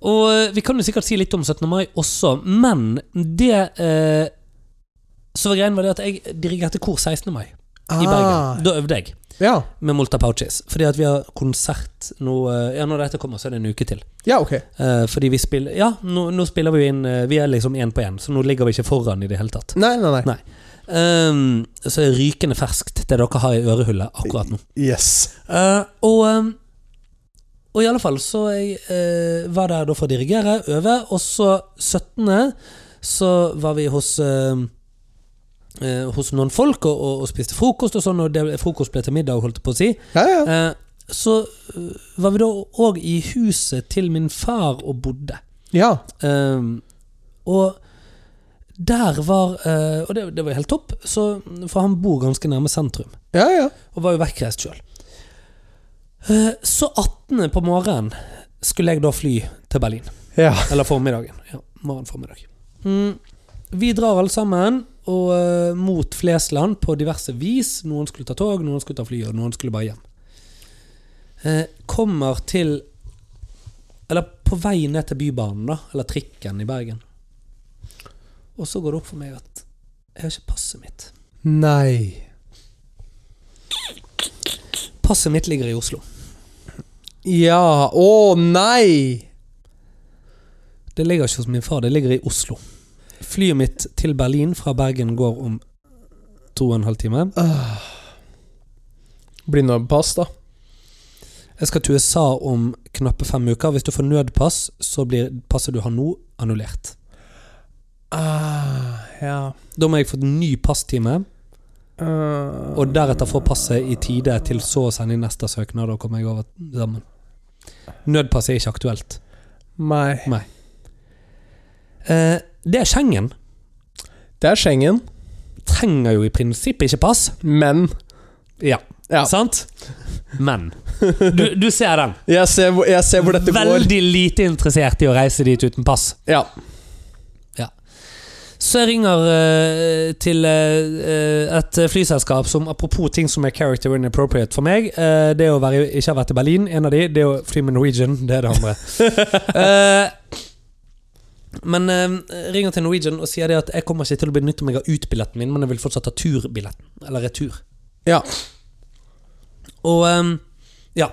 [SPEAKER 1] Og eh, vi kan jo sikkert si litt om 17. mai også, men det eh, Så var greien var det at jeg dirigerte kor 16. mai i
[SPEAKER 2] Ah.
[SPEAKER 1] Bergen. Da øvde jeg
[SPEAKER 2] Ja.
[SPEAKER 1] med Molta Pouches. Fordi at vi har konsert nå eh, Ja, når dette kommer, så er det en uke til.
[SPEAKER 2] ja, ok.
[SPEAKER 1] Eh, fordi vi spiller Ja, nå, nå spiller vi jo inn eh, Vi er liksom én på én, så nå ligger vi ikke foran i det hele tatt.
[SPEAKER 2] Nei, nei, nei.
[SPEAKER 1] Nei. Ehm, så er det rykende ferskt, det dere har i ørehullet akkurat nå.
[SPEAKER 2] Yes.
[SPEAKER 1] Eh, og, ehm, og i alle fall, så jeg eh, var der da for å dirigere, øve, og så 17. så var vi hos ehm, eh, hos noen folk og, og, og spiste frokost og sånn, og det, frokost ble til middag, holdt jeg på å si.
[SPEAKER 2] Ja, ja.
[SPEAKER 1] Eh, så eh, var vi da òg i huset til min far og bodde.
[SPEAKER 2] Ja.
[SPEAKER 1] Ehm, og der var eh, Og det, det var helt topp, så, for han bor ganske nærme sentrum.
[SPEAKER 2] Ja, ja.
[SPEAKER 1] Og var jo vekkreist sjøl. så 18. på morgenen skulle jeg da fly til Berlin.
[SPEAKER 2] Ja.
[SPEAKER 1] Eller formiddagen. Ja, morgen formiddag. Mm, vi drar alle sammen og eh, mot Flesland på diverse vis. Noen skulle ta tog, noen skulle ta fly, og noen skulle bare hjem. Eh, kommer til Eller på vei ned til Bybanen, da. Eller trikken i Bergen. Og så går det opp for meg at jeg har ikke passet mitt.
[SPEAKER 2] Nei.
[SPEAKER 1] Passet mitt ligger i Oslo.
[SPEAKER 2] Ja. Å, nei!
[SPEAKER 1] Det ligger ikke hos min far, det ligger i Oslo. Flyet mitt til Berlin fra Bergen går om to og en halv time.
[SPEAKER 2] Blindøyepass, da.
[SPEAKER 1] Jeg skal til USA om knappe fem uker. Hvis du får nødpass, så blir passet du har nå, annullert.
[SPEAKER 2] Ah, ja.
[SPEAKER 1] Da må jeg få en ny passtime,
[SPEAKER 2] Uh,
[SPEAKER 1] og deretter få passet i tide til så å sende inn neste søknad. Da kommer jeg over sammen. Nødpass er ikke aktuelt.
[SPEAKER 2] nei.
[SPEAKER 1] Eh, det er Schengen.
[SPEAKER 2] Det er Schengen,
[SPEAKER 1] Trenger jo i prinsippet ikke pass.
[SPEAKER 2] men
[SPEAKER 1] Ja.
[SPEAKER 2] Ja.
[SPEAKER 1] Sant? Men. Du, du ser den.
[SPEAKER 2] jeg ser, hvor- jeg ser hvor dette går.
[SPEAKER 1] Veldig lite interessert i å reise dit uten pass.
[SPEAKER 2] Ja.
[SPEAKER 1] Så jeg ringer eh, til eh, et flyselskap som apropos ting som er character inappropriate for meg eh, Det å være, ikke ha vært i Berlin, en av de. Det å fly med Norwegian, det er det andre. Eh, men eh, ringer til Norwegian og sier det at jeg kommer ikke til å benytte meg av utbilletten min, men jeg vil fortsatt ha turbilletten. Eller retur.
[SPEAKER 2] Ja.
[SPEAKER 1] Og ehm, ja.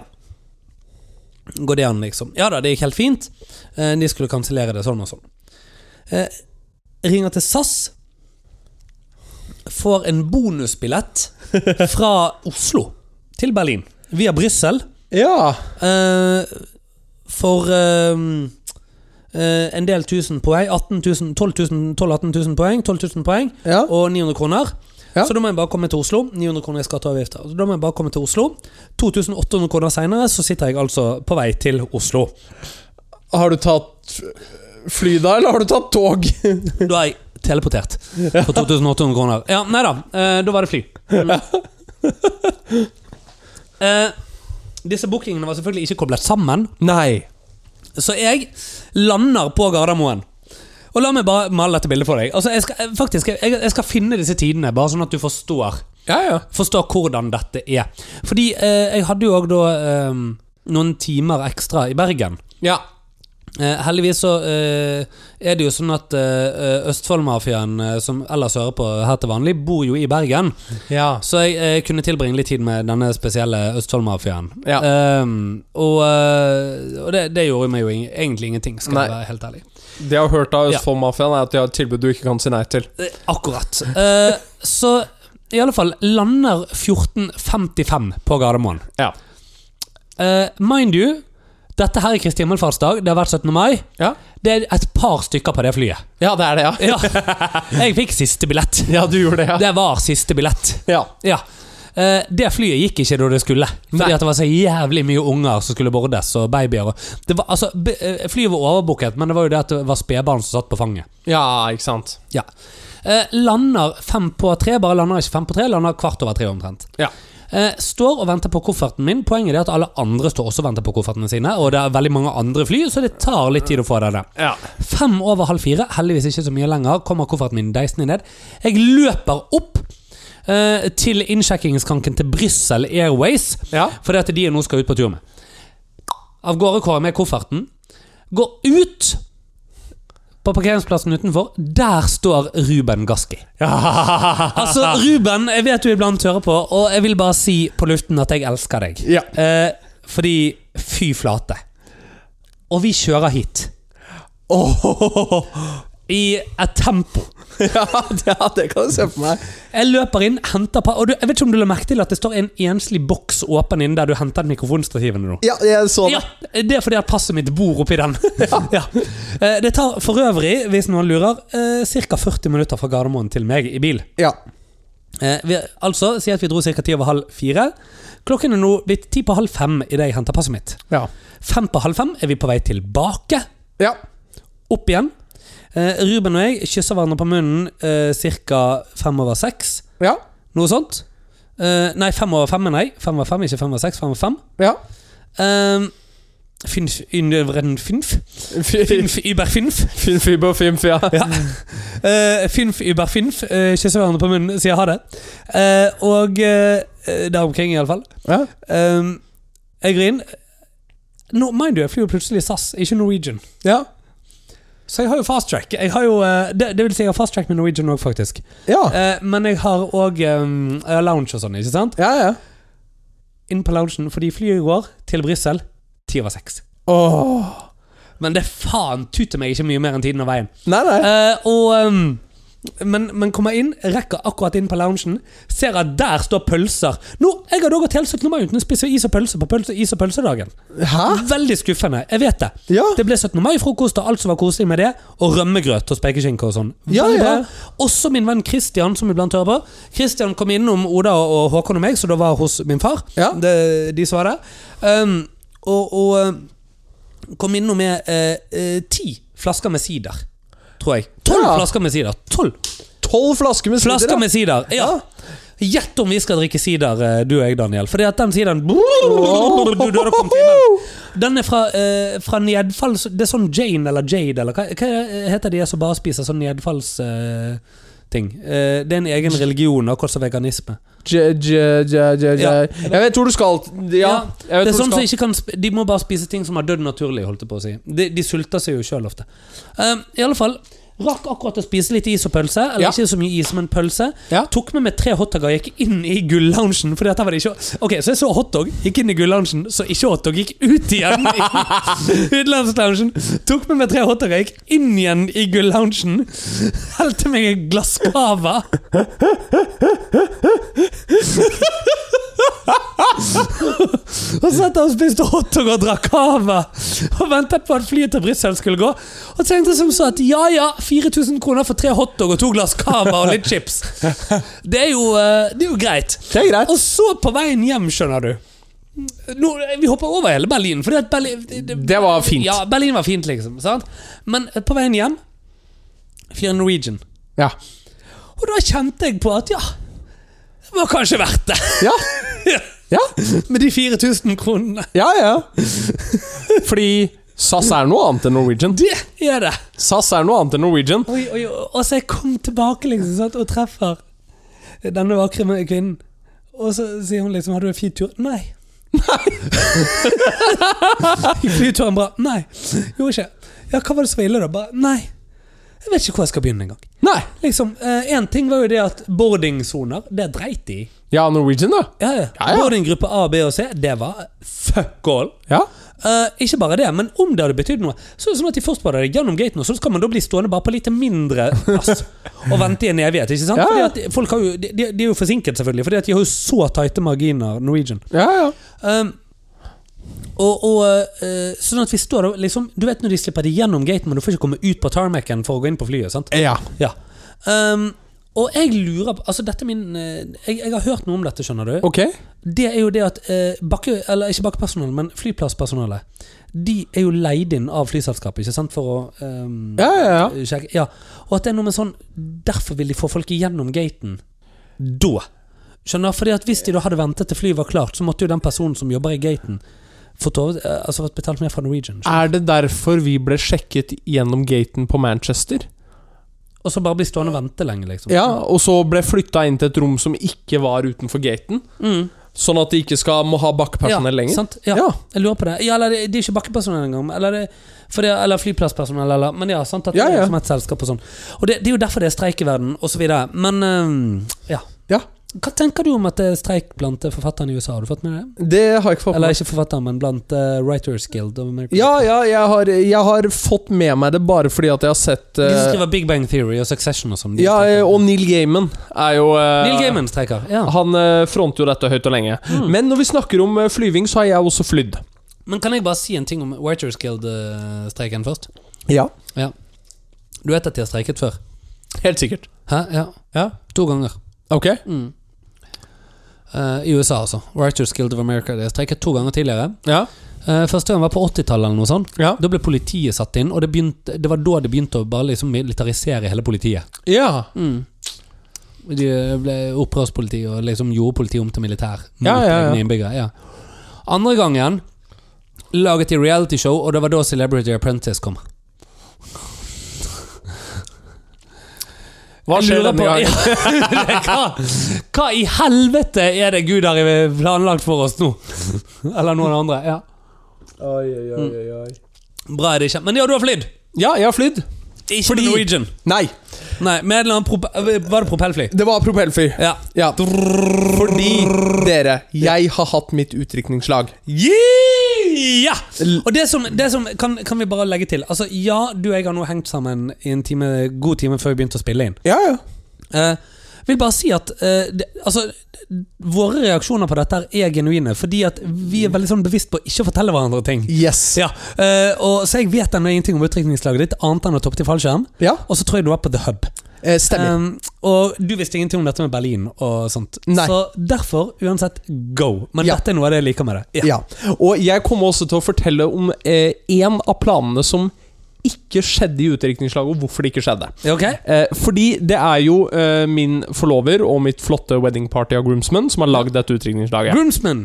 [SPEAKER 1] Går det an, liksom? Ja da, det gikk helt fint. Eh, De skulle kansellere det sånn og sånn. Eh, ringer til SAS. Får en bonusbillett fra Oslo til Berlin via Brussel
[SPEAKER 2] Ja.
[SPEAKER 1] eh, for ehm, eh, en del tusen poeng. 18 000, 12 000, 12 000-18 000 poeng. 12 000 poeng
[SPEAKER 2] ja.
[SPEAKER 1] og 900 kroner.
[SPEAKER 2] Ja.
[SPEAKER 1] Så da må jeg bare komme til Oslo. 900 kroner i skatt og avgifter. Så da må jeg bare komme til Oslo. 2800 kroner seinere så sitter jeg altså på vei til Oslo.
[SPEAKER 2] Har du tatt fly da, eller har du tatt tog?
[SPEAKER 1] Da er jeg teleportert for 2800 kroner. Ja, nei da. eh, da var det fly. Mm. Eh, disse bookingene var selvfølgelig ikke koblet sammen,
[SPEAKER 2] Nei.
[SPEAKER 1] så jeg lander på Gardermoen. Og la meg bare male dette bildet for deg. Altså, jeg skal, eh, faktisk, jeg, jeg skal finne disse tidene, bare sånn at du forstår.
[SPEAKER 2] Ja, ja.
[SPEAKER 1] forstå hvordan dette er. Fordi eh, jeg hadde jo òg da eh, noen timer ekstra i Bergen.
[SPEAKER 2] Ja.
[SPEAKER 1] Eh, heldigvis så eh, er det jo sånn at eh, Østfoldmafiaen, eh, som ellers hører på her til vanlig, bor jo i Bergen.
[SPEAKER 2] Ja.
[SPEAKER 1] Så jeg eh, kunne tilbringe litt tid med denne spesielle Østfoldmafiaen. Ehm,
[SPEAKER 2] Ja.
[SPEAKER 1] Eh, og eh, og det, det gjorde meg jo ing- egentlig ingenting, skal
[SPEAKER 2] Nei.
[SPEAKER 1] jeg være helt ærlig.
[SPEAKER 2] Det jeg har hørt av Østfold-mafiaen, er at de har et tilbud du ikke kan si nei til.
[SPEAKER 1] Eh, Akkurat. Eh, så i alle fall lander 14.55 på Gardermoen.
[SPEAKER 2] Ja.
[SPEAKER 1] Eh, mind you, dette her er Kristi himmelfartsdag. Det har vært 17. mai.
[SPEAKER 2] Ja.
[SPEAKER 1] Det er et par stykker på det flyet.
[SPEAKER 2] Ja, det er det, ja.
[SPEAKER 1] Ja. Jeg fikk siste billett.
[SPEAKER 2] Ja, du gjorde det, ja.
[SPEAKER 1] Det var siste billett.
[SPEAKER 2] ja.
[SPEAKER 1] Ja. Eh, det flyet gikk ikke da det skulle. Fordi
[SPEAKER 2] Nei.
[SPEAKER 1] at det var så jævlig mye unger som skulle bordes, og babyer og det var, altså, be- eh, Flyet var overbooket, men det var jo det at det var spedbarn som satt på fanget.
[SPEAKER 2] Ja, ikke sant.
[SPEAKER 1] Ja. Eh, lander fem på tre, bare lander ikke fem på tre, lander kvart over tre omtrent.
[SPEAKER 2] Ja.
[SPEAKER 1] Eh, står og venter på kofferten min. Poenget er at alle andre står også og venter på koffertene sine, og det er veldig mange andre fly, så det tar litt tid å få det der.
[SPEAKER 2] Ja.
[SPEAKER 1] Fem over halv fire, heldigvis ikke så mye lenger, kommer kofferten min deisende ned. Jeg løper opp eh, til innsjekkingsskranken til Brussel Airways,
[SPEAKER 2] Ja.
[SPEAKER 1] fordi at de nå skal ut på tur med. Av gårde kårer med kofferten. Går ut på parkeringsplassen utenfor. Der står Ruben Gaski. Altså, Ruben, jeg vet du iblant hører på, og jeg vil bare si på luften at jeg elsker deg.
[SPEAKER 2] Ja.
[SPEAKER 1] Eh, fordi fy flate. Og vi kjører hit. I et tempo.
[SPEAKER 2] ja, det, ja, det kan du se for meg.
[SPEAKER 1] Jeg løper inn, henter på Og du, jeg vet ikke om du la merke til at det står en enslig boks åpen inne der du hentet mikrofonstativene nå?
[SPEAKER 2] Ja, jeg så
[SPEAKER 1] Ja, det er fordi at passet mitt bor oppi den. ja. Eh, Det tar for øvrig, hvis noen lurer, ca. 40 minutter fra Gardermoen til meg i bil.
[SPEAKER 2] Ja.
[SPEAKER 1] Eh, Vi, altså, si at vi dro ca. ti over halv fire. Klokken er nå blitt ti på halv fem idet jeg henter passet mitt.
[SPEAKER 2] Ja.
[SPEAKER 1] Fem på halv fem er vi på vei tilbake.
[SPEAKER 2] ja.
[SPEAKER 1] Opp igjen. Eh, Ruben og jeg kysser hverandre på munnen ca. fem over seks.
[SPEAKER 2] Ja.
[SPEAKER 1] Noe sånt. Eh, nei, fem over fem, mener jeg. Fem over fem, ikke fem over seks. Fem over fem.
[SPEAKER 2] ja.
[SPEAKER 1] Um, finf, ynn- finf.
[SPEAKER 2] Fin,
[SPEAKER 1] Finf über finf.
[SPEAKER 2] fin fiber, fin fia. Ja.
[SPEAKER 1] Eh, finf über finf. Uh, Kysser hverandre på munnen, sier ha det. Eh, og eh, der omkring, iallfall.
[SPEAKER 2] Ja.
[SPEAKER 1] Um, jeg grin. Nå, mind you, jeg flyr jo plutselig SAS, ikke Norwegian.
[SPEAKER 2] ja.
[SPEAKER 1] Så jeg har jo fast track. Jeg har jo, eh, det, det vil si, jeg har fast track med Norwegian òg, faktisk.
[SPEAKER 2] Ja,
[SPEAKER 1] Eh, men jeg har òg um, jeg har lounge og sånn, ikke sant?
[SPEAKER 2] ja. ja.
[SPEAKER 1] Inn på loungen, fordi flyet går til Brussel ti over seks.
[SPEAKER 2] Åh.
[SPEAKER 1] Men det faen tuter meg ikke mye mer enn tiden og veien.
[SPEAKER 2] Nei, nei.
[SPEAKER 1] Eh, og ehm, men, men kommer inn, rekker akkurat inn på loungen, ser at der står pølser. Nå, Jeg har da gått hele 17. mai uten å spise is og pølse på pølse, is og pølsedagen.
[SPEAKER 2] Hæ?
[SPEAKER 1] Veldig skuffende. Jeg vet det.
[SPEAKER 2] Ja.
[SPEAKER 1] Det ble 17. mai-frokost og alt som var koselig med det, og rømmegrøt og spekeskinke og sånn.
[SPEAKER 2] Ja,
[SPEAKER 1] Veldig
[SPEAKER 2] ja.
[SPEAKER 1] bra. Også min venn Christian, som iblant hører på. Christian kom innom Oda og Håkon og meg, så da var hos min far.
[SPEAKER 2] Ja.
[SPEAKER 1] Det, de som var der. Um, og, og eh, kom innom med eh, eh, ti flasker med sider, tror jeg. Tolv
[SPEAKER 2] Ja.
[SPEAKER 1] flasker med sider. Tolv
[SPEAKER 2] Tolv flasker med sider,
[SPEAKER 1] flasker
[SPEAKER 2] ja.
[SPEAKER 1] med sider. Ja. Gjett om vi skal drikke sider, eh, du og jeg, Daniel. Fordi at den sideren du, du, hadde kommet i mellom. Den er fra, eh, fra nedfall så- Det er sånn Jane eller Jade eller hva, hva heter de som bare spiser sånn nedfallsting? ting Eh, det er en egen religion, akkurat som veganisme.
[SPEAKER 2] J, j, j, j, j.
[SPEAKER 1] Ja.
[SPEAKER 2] Jeg vet hvor du skal. Ja,
[SPEAKER 1] Ja,
[SPEAKER 2] jeg
[SPEAKER 1] Det
[SPEAKER 2] vet
[SPEAKER 1] er
[SPEAKER 2] hvor
[SPEAKER 1] sånn som
[SPEAKER 2] du skal.
[SPEAKER 1] ikke kan sp De må bare spise ting som har dødd naturlig, holdt jeg på å si. De, de sulter seg jo sjøl ofte. Eh, I alle fall Rakk akkurat å spise litt is og pølse. Eller
[SPEAKER 2] Ja.
[SPEAKER 1] ikke så mye is, men pølse.
[SPEAKER 2] Ja.
[SPEAKER 1] Tok med meg tre hotdoger og gikk inn i gulloungen. Fordi at her var det ikke Ok, Så jeg så hotdog, gikk inn i gulloungen, så ikke hotdog, gikk ut igjen. i Utenlandsloungen. Tok med meg tre hotdoger, gikk inn igjen i gulloungen. Helte meg et glass cava. Og satt der og spiste hotdog og drakk cava. Og ventet på at flyet til Brussel skulle gå. Og tenkte som så at ja ja, 4000 kroner for tre hotdog og to glass cava og litt chips. Det er jo, eh, det er jo greit.
[SPEAKER 2] Det er greit.
[SPEAKER 1] Og så på veien hjem, skjønner du Nå, Vi hopper over hele Berlin, fordi at Berlin
[SPEAKER 2] Det var fint.
[SPEAKER 1] Ja, Berlin var fint, liksom. sant? Men eh, på veien hjem Fyr Norwegian.
[SPEAKER 2] Ja.
[SPEAKER 1] Og da kjente jeg på at ja, det var kanskje verdt det.
[SPEAKER 2] Ja. Ja,
[SPEAKER 1] Med de 4000 kronene.
[SPEAKER 2] ja. ja. Fordi SAS er noe annet enn Norwegian.
[SPEAKER 1] Det er det.
[SPEAKER 2] SAS er noe annet enn Norwegian.
[SPEAKER 1] Oi, oi, oi. Og så jeg kom tilbake liksom, sant, og treffer denne vakre kvinnen. Og så sier hun liksom 'Hadde du en fin tur?' Nei. Nei. Gikk flyturen bra? Nei. Gjorde ikke. Ja, hva var det som var ille, da? Bare Nei. Jeg vet ikke hvor jeg skal begynne engang.
[SPEAKER 2] Nei.
[SPEAKER 1] Liksom, Én ting var jo det at boardingsoner, det dreit de i.
[SPEAKER 2] Ja, Norwegian, da.
[SPEAKER 1] Ja, ja.
[SPEAKER 2] Ja, ja.
[SPEAKER 1] Boardinggruppe A, B og C, det var fuck all.
[SPEAKER 2] Ja.
[SPEAKER 1] Eh, ikke bare det, men om det hadde betydd noe, så er det sånn at de først bare er gjennom gaten, og så skal man da bli stående bare på litt mindre plass og vente i en evighet. ikke sant?
[SPEAKER 2] Ja,
[SPEAKER 1] Fordi
[SPEAKER 2] ja.
[SPEAKER 1] at folk har jo, de, de de er jo forsinket, selvfølgelig, fordi at de har jo så tighte marginer, Norwegian.
[SPEAKER 2] Ja, ja.
[SPEAKER 1] Um, og, og eh, Sånn at vi står og liksom Du vet når de slipper deg gjennom gaten, men du får ikke komme ut på tarmacen for å gå inn på flyet. sant?
[SPEAKER 2] Ja.
[SPEAKER 1] Ja. Um, og jeg lurer på Altså, dette er min eh, jeg, jeg har hørt noe om dette, skjønner du.
[SPEAKER 2] Ok.
[SPEAKER 1] Det er jo det at eh, bakke... Eller ikke bakkepersonell, men flyplasspersonellet. De er jo leid inn av flyselskapet, ikke sant, for å um,
[SPEAKER 2] Ja, ja, ja.
[SPEAKER 1] sjekke Ja. Og at det er noe med sånn Derfor vil de få folk igjennom gaten da. Skjønner? Fordi at Hvis de da hadde ventet til flyet var klart, så måtte jo den personen som jobber i gaten, fått, over, eh, altså fått betalt mer fra Norwegian. skjønner
[SPEAKER 2] Er det derfor vi ble sjekket gjennom gaten på Manchester?
[SPEAKER 1] du? Og så bare bli stående og vente lenge, liksom.
[SPEAKER 2] Ah. Ja, og så ble flytta inn til et rom som ikke var utenfor gaten?
[SPEAKER 1] Mm.
[SPEAKER 2] Sånn at de ikke skal må ha bakkepersonell
[SPEAKER 1] ja,
[SPEAKER 2] lenger?
[SPEAKER 1] Sant? Ja,
[SPEAKER 2] Ja.
[SPEAKER 1] jeg lurer på det. Ja, eller det, det er ikke bakkepersonell engang, men- eller, det- for det, eller flyplasspersonell, eller Men ja, sant, at
[SPEAKER 2] Ja,
[SPEAKER 1] det
[SPEAKER 2] ja.
[SPEAKER 1] er som et selskap og sånn. Og det, det er jo derfor det er streik i verden, og så videre. Men øhm, ja.
[SPEAKER 2] Ja.
[SPEAKER 1] Hva tenker du om at det er streik blant eh, forfatterne i USA? Har du fått med deg det?
[SPEAKER 2] Det har jeg ikke fått med
[SPEAKER 1] Eller
[SPEAKER 2] meg.
[SPEAKER 1] ikke forfatterne, men blant eh, Writers Guild of America.
[SPEAKER 2] Ja, ja, jeg har, jeg har fått med meg det bare fordi at jeg har sett
[SPEAKER 1] De som
[SPEAKER 2] eh,
[SPEAKER 1] skriver Big Bang Theory og Succession og sånn. de
[SPEAKER 2] Ja,
[SPEAKER 1] streiker.
[SPEAKER 2] eh, og Neil Gaiman er jo eh,
[SPEAKER 1] Neil Gaiman streiker. Ja. Mm.
[SPEAKER 2] Han eh, fronter jo dette høyt og lenge. Men når vi snakker om eh, flyving, så har jeg også flydd.
[SPEAKER 1] Men kan jeg bare si en ting om Writers Guild-streiken først?
[SPEAKER 2] Ja.
[SPEAKER 1] Ja. Du vet at de har streiket før?
[SPEAKER 2] Helt sikkert.
[SPEAKER 1] Hæ? Ja.
[SPEAKER 2] Ja.
[SPEAKER 1] To ganger.
[SPEAKER 2] Ok.
[SPEAKER 1] Mm. Eh, I USA, altså. Writers Guild of America. De har streiket to ganger tidligere.
[SPEAKER 2] Ja.
[SPEAKER 1] Eh, første gang var på 80-tallet eller noe sånt.
[SPEAKER 2] Ja.
[SPEAKER 1] Da ble politiet satt inn, og det, begynte, det var da det begynte å bare liksom militarisere hele politiet.
[SPEAKER 2] Ja.
[SPEAKER 1] De ble opprørspoliti og liksom gjorde politiet om til militær mot
[SPEAKER 2] Ja, ja, ja.
[SPEAKER 1] egne innbyggere. Ja. Andre gangen laget de realityshow, og det var da Celebrity Apprentice kom.
[SPEAKER 2] Hva
[SPEAKER 1] Jeg
[SPEAKER 2] skjer
[SPEAKER 1] lurer
[SPEAKER 2] denne
[SPEAKER 1] på-
[SPEAKER 2] gangen?
[SPEAKER 1] Ja, hva, hva i helvete er det Gud har planlagt for oss nå? Eller noen andre. Ja.
[SPEAKER 2] Oi, oi, oi, oi.
[SPEAKER 1] Bra er det ikke. Men ja, du har flydd!
[SPEAKER 2] Mm. Ja, jeg har flydd.
[SPEAKER 1] Ikke
[SPEAKER 2] Fordi-
[SPEAKER 1] med Norwegian.
[SPEAKER 2] Nei,
[SPEAKER 1] Nei, med en eller annen prop eh, Var det propellfly?
[SPEAKER 2] det var propellfly.
[SPEAKER 1] Ja.
[SPEAKER 2] Ja. Fordi, dere, jeg har hatt mitt utdrikningslag.
[SPEAKER 1] Ja! Og det som, det som kan, kan vi bare legge til. Altså, ja, du og jeg har nå hengt sammen i en time, god time før vi begynte å spille inn.
[SPEAKER 2] Ja, ja.
[SPEAKER 1] Eh, vil bare si at eh, det, altså, våre reaksjoner på dette her er genuine, fordi at vi er veldig sånn bevisst på å ikke fortelle hverandre ting.
[SPEAKER 2] Yes.
[SPEAKER 1] Ja, eh, og Så jeg vet ennå ingenting om utdrikningslaget ditt, annet enn å toppe til fallskjerm.
[SPEAKER 2] Ja,
[SPEAKER 1] Og så tror jeg du var på The Hub.
[SPEAKER 2] eh, stemmer.
[SPEAKER 1] Um, og du visste ingenting om dette med Berlin og sånt.
[SPEAKER 2] Nei.
[SPEAKER 1] Så derfor, uansett, go. Men
[SPEAKER 2] Ja.
[SPEAKER 1] dette er noe av det jeg liker med det.
[SPEAKER 2] ja. Og jeg kommer også til å fortelle om én av planene som ikke skjedde i utdrikningslaget, og hvorfor det ikke skjedde.
[SPEAKER 1] Ja, Ok?
[SPEAKER 2] Eh, fordi det er jo eh, min forlover og mitt flotte wedding party av groomsmen som har lagd dette utdrikningslaget.
[SPEAKER 1] Groomsmen.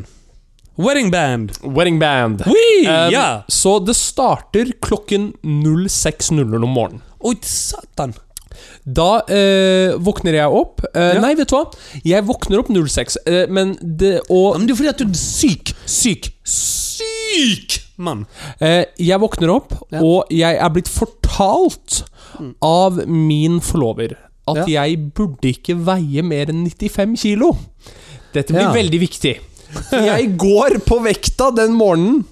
[SPEAKER 1] Wedding band.
[SPEAKER 2] Wedding band.
[SPEAKER 1] Wee!
[SPEAKER 2] Um,
[SPEAKER 1] ja!
[SPEAKER 2] Så det starter klokken 06.00 om morgenen.
[SPEAKER 1] Oi, satan.
[SPEAKER 2] Da eh, våkner jeg opp. Eh,
[SPEAKER 1] Ja.
[SPEAKER 2] Nei, vet du hva? Jeg våkner opp 06, eh, men det
[SPEAKER 1] Ja,
[SPEAKER 2] Og
[SPEAKER 1] men det er jo fordi at du er syk, syk, syk mann.
[SPEAKER 2] eh, jeg våkner opp,
[SPEAKER 1] Ja. Mm.
[SPEAKER 2] og jeg er blitt fortalt av min forlover at jeg burde ikke veie mer enn 95 kilo. Dette blir
[SPEAKER 1] Ja.
[SPEAKER 2] veldig viktig. Jeg går på vekta den morgenen,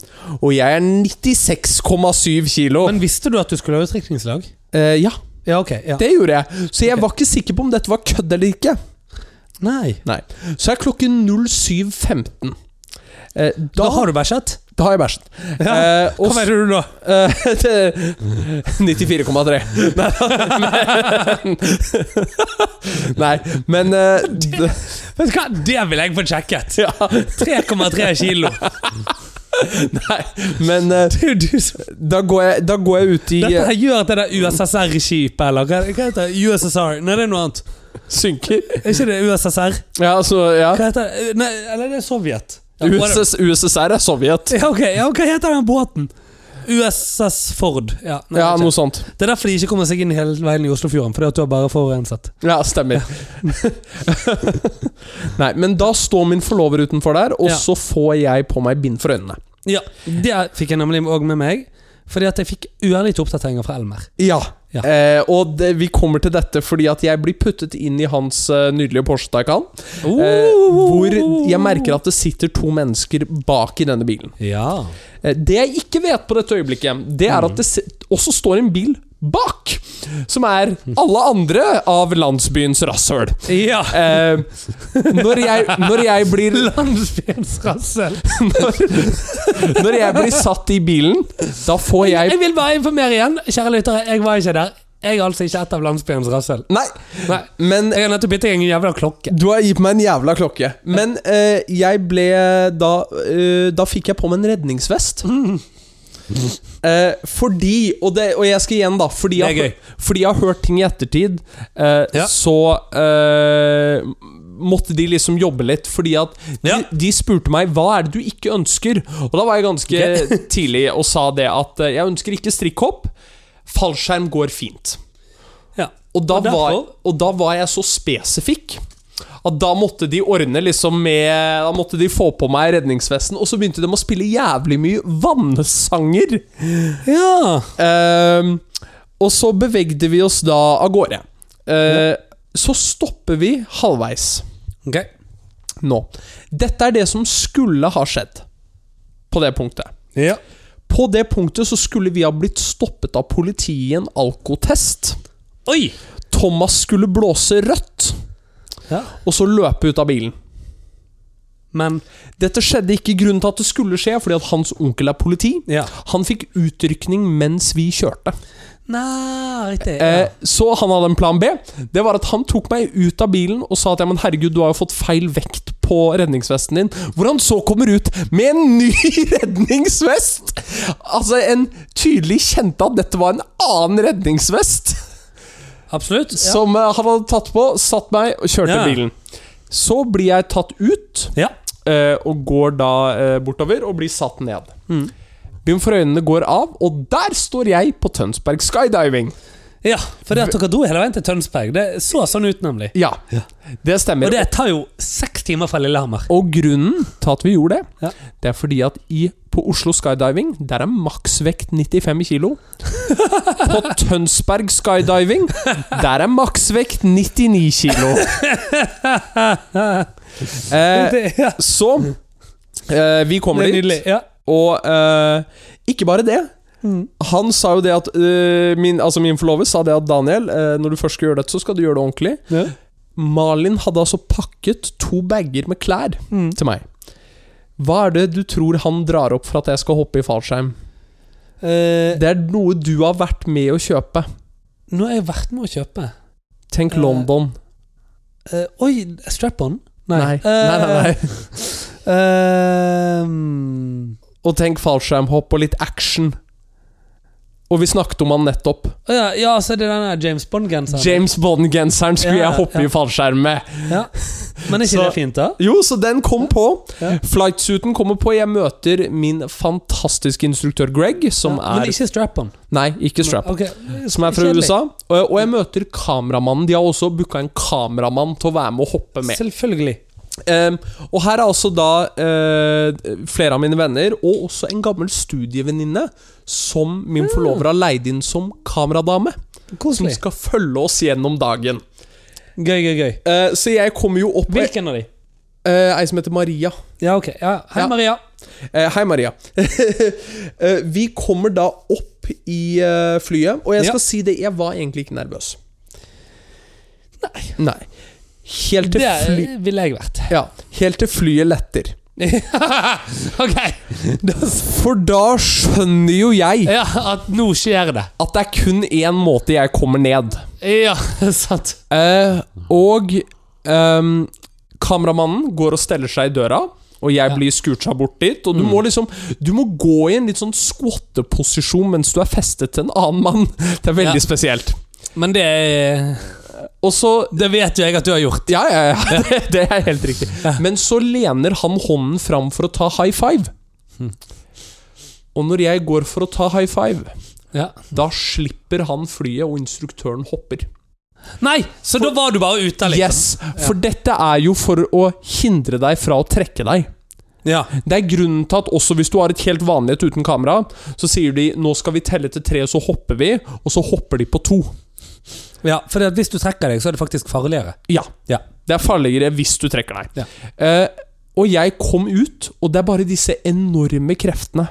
[SPEAKER 2] og jeg er 96,7 kilo.
[SPEAKER 1] Men visste du at du skulle ha utdrikningslag?
[SPEAKER 2] eh, ja,
[SPEAKER 1] Ja, ok. Ja.
[SPEAKER 2] det gjorde jeg. Så jeg
[SPEAKER 1] Ok.
[SPEAKER 2] var ikke sikker på om dette var kødd eller ikke.
[SPEAKER 1] Nei.
[SPEAKER 2] Nei. Så er klokken 07.15. Eh, da,
[SPEAKER 1] Da,
[SPEAKER 2] har,
[SPEAKER 1] har du bæsjet?
[SPEAKER 2] da har jeg bæsjet.
[SPEAKER 1] Ja.
[SPEAKER 2] Eh, og
[SPEAKER 1] Hva mener du da?
[SPEAKER 2] Eh, det- 94,3. Nei, Nei, men eh, d-
[SPEAKER 1] Vet du hva, Det vil jeg få sjekket.
[SPEAKER 2] Ja.
[SPEAKER 1] 3,3 kilo.
[SPEAKER 2] Nei, men eh, da, går jeg, da går jeg ut i eh,
[SPEAKER 1] Dette her gjør at det der USSR-skipet, eller hva, hva heter det? USSR? Nei, det er noe annet.
[SPEAKER 2] Synker.
[SPEAKER 1] Er ikke det USSR?
[SPEAKER 2] Ja, så ja.
[SPEAKER 1] Hva heter det? Nei, eller det er Sovjet. Ja, whatever.
[SPEAKER 2] USS, USSR er Sovjet.
[SPEAKER 1] ja, ok. Ja, hva heter den båten? USS Ford. Ja, nei,
[SPEAKER 2] Ja,
[SPEAKER 1] det er
[SPEAKER 2] noe
[SPEAKER 1] ikke.
[SPEAKER 2] sånt.
[SPEAKER 1] Det er derfor de ikke kommer seg inn hele veien i Oslofjorden, fordi at du har bare forurenset.
[SPEAKER 2] Ja, stemmer. Nei, men da står min forlover utenfor der, og
[SPEAKER 1] Ja.
[SPEAKER 2] så får jeg på meg bind for øynene.
[SPEAKER 1] Ja, det fikk jeg nemlig òg med meg, fordi at jeg fikk uærlige oppdateringer fra Elmer.
[SPEAKER 2] Ja.
[SPEAKER 1] Ja.
[SPEAKER 2] Eh, og det, vi kommer til dette fordi at jeg blir puttet inn i hans eh, nydelige Porsche Taycan. Eh, hvor jeg merker at det sitter to mennesker bak i denne bilen.
[SPEAKER 1] Ja.
[SPEAKER 2] Eh, Det jeg ikke vet på dette øyeblikket, det
[SPEAKER 1] Mm.
[SPEAKER 2] er at det se- også står en bil bak! Som er alle andre av landsbyens rasshøl.
[SPEAKER 1] ja.
[SPEAKER 2] Eh, når, jeg, når jeg blir
[SPEAKER 1] Landsbyens rassel.
[SPEAKER 2] når, når jeg blir satt i bilen, da får jeg
[SPEAKER 1] Jeg vil bare informere igjen, kjære lyttere, jeg var ikke der. Jeg er altså ikke et av landsbyens rassel.
[SPEAKER 2] Nei,
[SPEAKER 1] Nei.
[SPEAKER 2] men
[SPEAKER 1] Jeg har nettopp gitt deg en jævla klokke.
[SPEAKER 2] Du har gitt meg en jævla klokke. Men eh, jeg ble da eh, Da fikk jeg på meg en redningsvest. Eh, fordi og, det, og jeg skal igjen, da. Fordi
[SPEAKER 1] Det er
[SPEAKER 2] jeg, har- fordi jeg har hørt ting i ettertid, eh,
[SPEAKER 1] Ja.
[SPEAKER 2] så eh, måtte de liksom jobbe litt, fordi at de,
[SPEAKER 1] Ja.
[SPEAKER 2] de spurte meg hva er det du ikke ønsker. Og da var jeg ganske tidlig og sa det at eh, jeg ønsker ikke strikkhopp. Fallskjerm går fint.
[SPEAKER 1] Ja.
[SPEAKER 2] Og da,
[SPEAKER 1] Og derfor-
[SPEAKER 2] var, og da var jeg så spesifikk at da måtte de ordne liksom med Da måtte de få på meg redningsvesten, og så begynte de å spille jævlig mye vannesanger.
[SPEAKER 1] Ja.
[SPEAKER 2] Ehm, og så bevegde vi oss da av gårde. Eh, Så stopper vi halvveis
[SPEAKER 1] Ok.
[SPEAKER 2] nå. Dette er det som skulle ha skjedd på det punktet.
[SPEAKER 1] Ja.
[SPEAKER 2] På det punktet så skulle vi ha blitt stoppet av politiet i en alkotest.
[SPEAKER 1] Oi!
[SPEAKER 2] Thomas skulle blåse rødt.
[SPEAKER 1] Ja.
[SPEAKER 2] og så løpe ut av bilen.
[SPEAKER 1] Men
[SPEAKER 2] Dette skjedde ikke grunnen til at det skulle skje, fordi at hans onkel er politi.
[SPEAKER 1] Ja.
[SPEAKER 2] Han fikk utrykning mens vi kjørte.
[SPEAKER 1] Nei, riktig.
[SPEAKER 2] Eh,
[SPEAKER 1] Ja.
[SPEAKER 2] så han hadde en plan B. Det var at han tok meg ut av bilen og sa at ja, men herregud, du har jo fått feil vekt på redningsvesten din. Hvor han så kommer ut med en ny redningsvest! Altså, en tydelig kjente at dette var en annen redningsvest.
[SPEAKER 1] Absolutt. Ja.
[SPEAKER 2] Som eh, han hadde tatt på, satt meg og kjørte
[SPEAKER 1] Ja.
[SPEAKER 2] bilen. Så blir jeg tatt ut.
[SPEAKER 1] ja.
[SPEAKER 2] eh, og går da eh, bortover og blir satt ned.
[SPEAKER 1] Mm.
[SPEAKER 2] Byen for øynene går av, og der står jeg på Tønsberg skydiving.
[SPEAKER 1] ja for det at dere dro hele veien til Tønsberg, det så sånn ut, nemlig.
[SPEAKER 2] Ja,
[SPEAKER 1] Ja.
[SPEAKER 2] det
[SPEAKER 1] Og
[SPEAKER 2] stemmer.
[SPEAKER 1] det tar jo seks timer fra Lillehammer.
[SPEAKER 2] Og grunnen til at vi gjorde det,
[SPEAKER 1] Ja.
[SPEAKER 2] det er fordi at i, på Oslo skydiving, der er maksvekt 95 kilo. På Tønsberg skydiving, der er maksvekt 99 kilo. Eh,
[SPEAKER 1] Det, ja.
[SPEAKER 2] så eh, Vi
[SPEAKER 1] det
[SPEAKER 2] kommer
[SPEAKER 1] er
[SPEAKER 2] dit.
[SPEAKER 1] nydelig. Ja.
[SPEAKER 2] Og eh, ikke bare det.
[SPEAKER 1] Mm.
[SPEAKER 2] Han sa jo det at eh, min, altså min forlover sa det at Daniel, eh, når du først skal gjøre dette, så skal du gjøre det ordentlig.
[SPEAKER 1] Ja.
[SPEAKER 2] Malin hadde altså pakket to bager med klær
[SPEAKER 1] Mm.
[SPEAKER 2] til meg. Hva er det du tror han drar opp for at jeg skal hoppe i fallskjerm?
[SPEAKER 1] Eh,
[SPEAKER 2] Det er noe du har vært med å kjøpe.
[SPEAKER 1] nå har jeg vært med å kjøpe.
[SPEAKER 2] Tenk
[SPEAKER 1] Eh,
[SPEAKER 2] London.
[SPEAKER 1] Eh, oi, strap-on?
[SPEAKER 2] Nei.
[SPEAKER 1] Eh,
[SPEAKER 2] nei, nei, nei.
[SPEAKER 1] ehm,
[SPEAKER 2] Og tenk fallskjermhopp og litt action. Og vi snakket om han nettopp.
[SPEAKER 1] å ja, ja, så er det den der James Bond-genseren.
[SPEAKER 2] James Bond-genseren skulle
[SPEAKER 1] Ja,
[SPEAKER 2] jeg hoppe
[SPEAKER 1] ja.
[SPEAKER 2] i fallskjerm med.
[SPEAKER 1] Ja. Men er ikke
[SPEAKER 2] Så-
[SPEAKER 1] det fint, da?
[SPEAKER 2] Jo, så den kom på.
[SPEAKER 1] Ja.
[SPEAKER 2] Flightsuiten kommer på. Jeg møter min fantastiske instruktør Greg, som
[SPEAKER 1] ja, men
[SPEAKER 2] er
[SPEAKER 1] ikke strap-on.
[SPEAKER 2] Nei, ikke strap.
[SPEAKER 1] Ok.
[SPEAKER 2] Som er fra
[SPEAKER 1] Kjedelig.
[SPEAKER 2] USA. Og, og jeg møter kameramannen. De har også booka en kameramann til å være med og hoppe med.
[SPEAKER 1] Selvfølgelig.
[SPEAKER 2] Ehm, og her er altså da eh, flere av mine venner, og også en gammel studievenninne, som min forlover har leid inn som kameradame. Som
[SPEAKER 1] Ah. Koselig.
[SPEAKER 2] skal følge oss gjennom dagen.
[SPEAKER 1] Gøy, gøy, gøy.
[SPEAKER 2] Eh, så jeg kommer jo opp med
[SPEAKER 1] Hvilken av de?
[SPEAKER 2] eh, ei som heter Maria.
[SPEAKER 1] Ja, ok. Ja. Hei,
[SPEAKER 2] Ja.
[SPEAKER 1] Maria.
[SPEAKER 2] Eh, hei, Maria. eh, vi kommer da opp i eh, flyet, og jeg skal
[SPEAKER 1] Ja.
[SPEAKER 2] si det, jeg var egentlig ikke nervøs. Nei. Helt til,
[SPEAKER 1] Det er-
[SPEAKER 2] fly,
[SPEAKER 1] ville jeg vært.
[SPEAKER 2] ja, helt til flyet letter.
[SPEAKER 1] ok.
[SPEAKER 2] For da skjønner jo jeg
[SPEAKER 1] Ja, at nå skjer det.
[SPEAKER 2] at det er kun én måte jeg kommer ned.
[SPEAKER 1] Ja, sant.
[SPEAKER 2] Eh, og ehm, kameramannen går og steller seg i døra, og jeg
[SPEAKER 1] Ja. Mm.
[SPEAKER 2] blir scoota bort dit. Og du må liksom Du må gå i en litt sånn squatteposisjon mens du er festet til en annen mann. Det er veldig
[SPEAKER 1] Ja.
[SPEAKER 2] spesielt.
[SPEAKER 1] Men det er
[SPEAKER 2] Og så
[SPEAKER 1] Det vet jo jeg at du har gjort.
[SPEAKER 2] Ja, ja, ja. Det, det er helt riktig. Men så lener han hånden fram for å ta high five.
[SPEAKER 1] Hm.
[SPEAKER 2] Og når jeg går for å ta high five,
[SPEAKER 1] Ja.
[SPEAKER 2] da slipper han flyet, og instruktøren hopper.
[SPEAKER 1] Nei, så da var du bare ute, liksom.
[SPEAKER 2] Yes, For dette er jo for å hindre deg fra å trekke deg.
[SPEAKER 1] Ja.
[SPEAKER 2] Det er grunnen til at også hvis du har et helt vanlig et uten kamera, så sier de 'nå skal vi telle til tre, og så hopper vi', og så hopper de på to.
[SPEAKER 1] ja for det at hvis du trekker deg, så er det faktisk farligere.
[SPEAKER 2] Ja.
[SPEAKER 1] Ja.
[SPEAKER 2] Det er farligere hvis du trekker deg.
[SPEAKER 1] Ja.
[SPEAKER 2] Eh, og jeg kom ut, og det er bare disse enorme kreftene.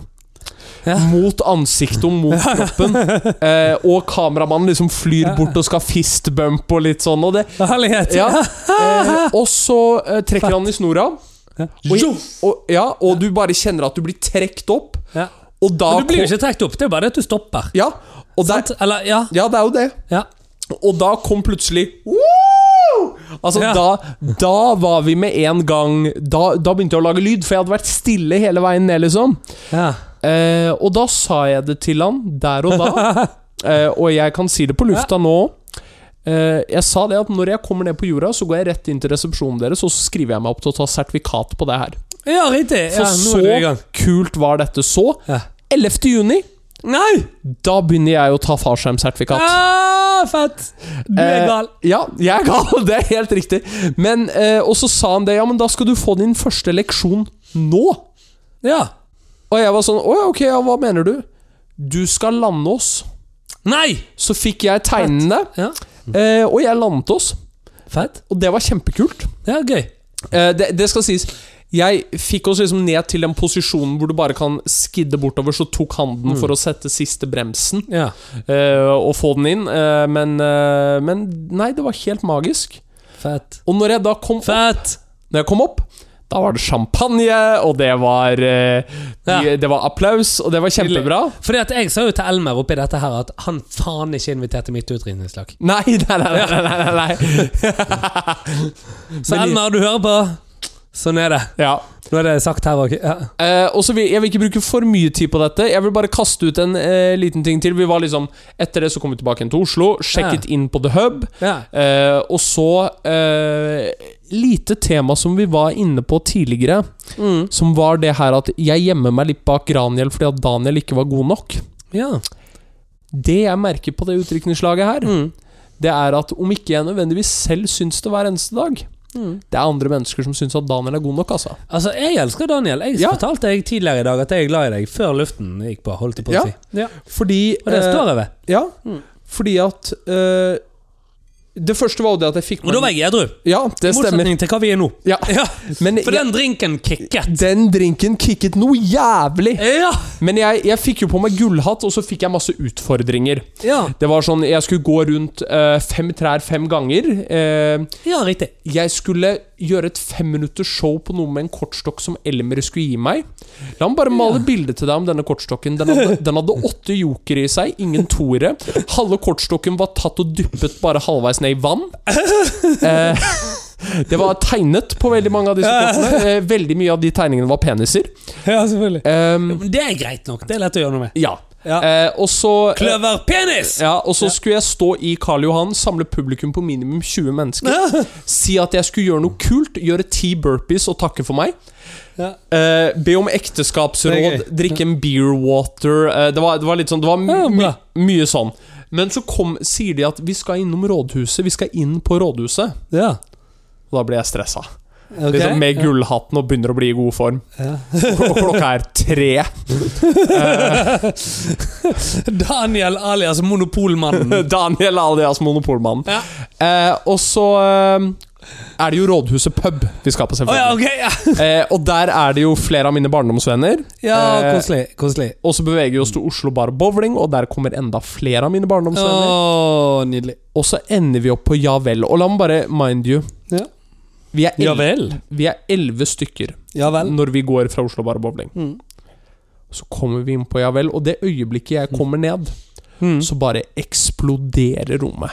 [SPEAKER 1] Ja.
[SPEAKER 2] Mot ansiktet og mot kroppen. Eh, og kameramannen liksom flyr
[SPEAKER 1] Ja.
[SPEAKER 2] bort og skal fistbump og litt sånn. Og, det,
[SPEAKER 1] Herlighet!
[SPEAKER 2] ja.
[SPEAKER 1] Ah.
[SPEAKER 2] eh, og så eh, trekker han i snora. Og, og, ja, og du bare kjenner at du blir trukket opp.
[SPEAKER 1] Ja.
[SPEAKER 2] Og da
[SPEAKER 1] Men du blir jo ikke trukket opp, det er bare det at du stopper.
[SPEAKER 2] Ja, og der,
[SPEAKER 1] Sant? Eller, ja.
[SPEAKER 2] ja, det er jo det.
[SPEAKER 1] ja.
[SPEAKER 2] Og da kom plutselig «Wow!» Altså,
[SPEAKER 1] Ja.
[SPEAKER 2] da, da var vi med en gang da, da begynte jeg å lage lyd, for jeg hadde vært stille hele veien ned, liksom.
[SPEAKER 1] ja.
[SPEAKER 2] Eh, og da sa jeg det til han der og da, eh, og jeg kan si det på lufta nå. Eh, jeg sa det at når jeg kommer ned på jorda, så går jeg rett inn til resepsjonen deres, og så skriver jeg meg opp til å ta sertifikat på det her.
[SPEAKER 1] Ja, riktig.
[SPEAKER 2] For
[SPEAKER 1] Ja, nå er du i
[SPEAKER 2] så
[SPEAKER 1] gang.
[SPEAKER 2] kult var dette. Så
[SPEAKER 1] Ja.
[SPEAKER 2] 11. juni,
[SPEAKER 1] Nei!
[SPEAKER 2] da begynner jeg å ta farskjermsertifikat.
[SPEAKER 1] Ah, fett! Du er
[SPEAKER 2] Eh,
[SPEAKER 1] gal.
[SPEAKER 2] Ja, jeg er gal, det er helt riktig. Men, eh, Og så sa han det, ja, men da skal du få din første leksjon nå.
[SPEAKER 1] Ja.
[SPEAKER 2] Og jeg var sånn, å ja, ok, ja, hva mener du? Du skal lande oss.
[SPEAKER 1] Nei!
[SPEAKER 2] Så fikk jeg tegnene,
[SPEAKER 1] Ja.
[SPEAKER 2] eh, og jeg landet oss.
[SPEAKER 1] Fett.
[SPEAKER 2] Og det var kjempekult.
[SPEAKER 1] Ja, gøy.
[SPEAKER 2] Eh, det, det skal sies. Jeg fikk oss liksom ned til den posisjonen hvor du bare kan skidde bortover, så tok han den
[SPEAKER 1] Mm.
[SPEAKER 2] for å sette siste bremsen
[SPEAKER 1] Ja.
[SPEAKER 2] eh, og få den inn. Eh, men, eh, men nei, det var helt magisk.
[SPEAKER 1] Fett.
[SPEAKER 2] Og når jeg da kom
[SPEAKER 1] Fett!
[SPEAKER 2] Når jeg kom opp, da var det champagne, og det var, eh, de,
[SPEAKER 1] Ja.
[SPEAKER 2] det var applaus, og det var kjempebra.
[SPEAKER 1] Fordi at jeg sa jo til Elmer oppi dette her at han faen ikke inviterte mitt utdrikningslag.
[SPEAKER 2] Nei, nei, nei, nei, nei, nei, nei.
[SPEAKER 1] Så
[SPEAKER 2] Men de-
[SPEAKER 1] Elmer, du hører på. Sånn er det.
[SPEAKER 2] Ja.
[SPEAKER 1] Nå er det sagt her òg. Ja.
[SPEAKER 2] Eh, og så vil, jeg vil ikke bruke for mye tid på dette. Jeg vil bare kaste ut en eh, liten ting til. Vi var liksom, Etter det så kom vi tilbake igjen til Oslo, sjekket inn på The Hub.
[SPEAKER 1] Ja.
[SPEAKER 2] Eh, og så eh, Lite tema som vi var inne på tidligere,
[SPEAKER 1] Mm.
[SPEAKER 2] som var det her at jeg gjemmer meg litt bak Graniel fordi at Daniel ikke var god nok.
[SPEAKER 1] ja.
[SPEAKER 2] Det jeg merker på det utdrikningslaget her,
[SPEAKER 1] Mm.
[SPEAKER 2] det er at om ikke jeg nødvendigvis selv syns det hver eneste dag,
[SPEAKER 1] Mm.
[SPEAKER 2] det er andre mennesker som syns at Daniel er god nok, altså.
[SPEAKER 1] Altså, jeg elsker Daniel. Jeg
[SPEAKER 2] Ja.
[SPEAKER 1] fortalte deg tidligere i dag at jeg er glad i deg, før luften gikk på. holdt jeg på å
[SPEAKER 2] Ja.
[SPEAKER 1] si.
[SPEAKER 2] Fordi
[SPEAKER 1] Og det
[SPEAKER 2] eh,
[SPEAKER 1] står jeg ved.
[SPEAKER 2] Ja,
[SPEAKER 1] Mm.
[SPEAKER 2] fordi at eh, Det første var jo det at jeg fikk
[SPEAKER 1] Og da var jeg edru.
[SPEAKER 2] Ja, det
[SPEAKER 1] I
[SPEAKER 2] stemmer.
[SPEAKER 1] motsetning til hva vi er nå.
[SPEAKER 2] Ja.
[SPEAKER 1] Ja,
[SPEAKER 2] Men
[SPEAKER 1] For den drinken kicket.
[SPEAKER 2] jeg, den drinken kicket noe jævlig!
[SPEAKER 1] Ja.
[SPEAKER 2] Men jeg, jeg fikk jo på meg gullhatt, og så fikk jeg masse utfordringer.
[SPEAKER 1] Ja,
[SPEAKER 2] Det var sånn, Jeg skulle gå rundt eh, fem trær fem ganger. eh,
[SPEAKER 1] ja riktig.
[SPEAKER 2] Jeg skulle gjøre et femminutters show på noe med en kortstokk som Elmer skulle gi meg. La meg bare male bilde til deg om denne kortstokken. Den hadde, den hadde åtte jokere i seg, ingen toere. Halve kortstokken var tatt og dyppet bare halvveis ned i vann. Eh, det var tegnet på veldig mange av disse kortene. Eh, veldig mye av de tegningene var peniser.
[SPEAKER 1] Ja, selvfølgelig.
[SPEAKER 2] Eh,
[SPEAKER 1] Men det er greit nok. Det er lett å gjøre noe med.
[SPEAKER 2] ja.
[SPEAKER 1] Ja.
[SPEAKER 2] Eh, og så
[SPEAKER 1] Kløverpenis!
[SPEAKER 2] ja, og så skulle jeg stå i Karl Johan, samle publikum på minimum 20 mennesker. Si at jeg skulle gjøre noe kult, gjøre ti burpees og takke for meg.
[SPEAKER 1] Ja.
[SPEAKER 2] Eh, be om
[SPEAKER 1] Det er
[SPEAKER 2] ekteskapsråd,
[SPEAKER 1] gøy.
[SPEAKER 2] drikke en beer water. Eh, det, var, det var litt sånn Det var
[SPEAKER 1] Ja,
[SPEAKER 2] my,
[SPEAKER 1] bra.
[SPEAKER 2] mye sånn. Men så kom, sier de at vi skal innom rådhuset. Vi skal inn på rådhuset.
[SPEAKER 1] ja.
[SPEAKER 2] Og da blir jeg stressa.
[SPEAKER 1] ok.
[SPEAKER 2] Liksom med gullhatten og begynner å bli i god form.
[SPEAKER 1] Ja.
[SPEAKER 2] Og klokka er tre.
[SPEAKER 1] Daniel alias Monopolmannen.
[SPEAKER 2] Daniel alias Monopolmannen.
[SPEAKER 1] Ja.
[SPEAKER 2] Eh, og så eh, er det jo Rådhuset pub vi skal på,
[SPEAKER 1] Å ja,
[SPEAKER 2] selvfølgelig.
[SPEAKER 1] ok! Ja,
[SPEAKER 2] eh, og der er det jo flere av mine barndomsvenner.
[SPEAKER 1] ja
[SPEAKER 2] Eh,
[SPEAKER 1] koselig. koselig.
[SPEAKER 2] Og så beveger vi oss til Oslo Bar Bowling, og der kommer enda flere av mine barndomsvenner.
[SPEAKER 1] nydelig.
[SPEAKER 2] Og så ender vi opp på Ja vel. Og la meg bare mind you
[SPEAKER 1] Ja.
[SPEAKER 2] Vi er
[SPEAKER 1] Ja
[SPEAKER 2] el-
[SPEAKER 1] vel.
[SPEAKER 2] vi er elleve stykker
[SPEAKER 1] Ja vel.
[SPEAKER 2] når vi går fra Oslo Bar Bowling.
[SPEAKER 1] Mm.
[SPEAKER 2] Så kommer vi inn på Ja vel, og det øyeblikket jeg kommer ned,
[SPEAKER 1] Mm.
[SPEAKER 2] så bare eksploderer rommet.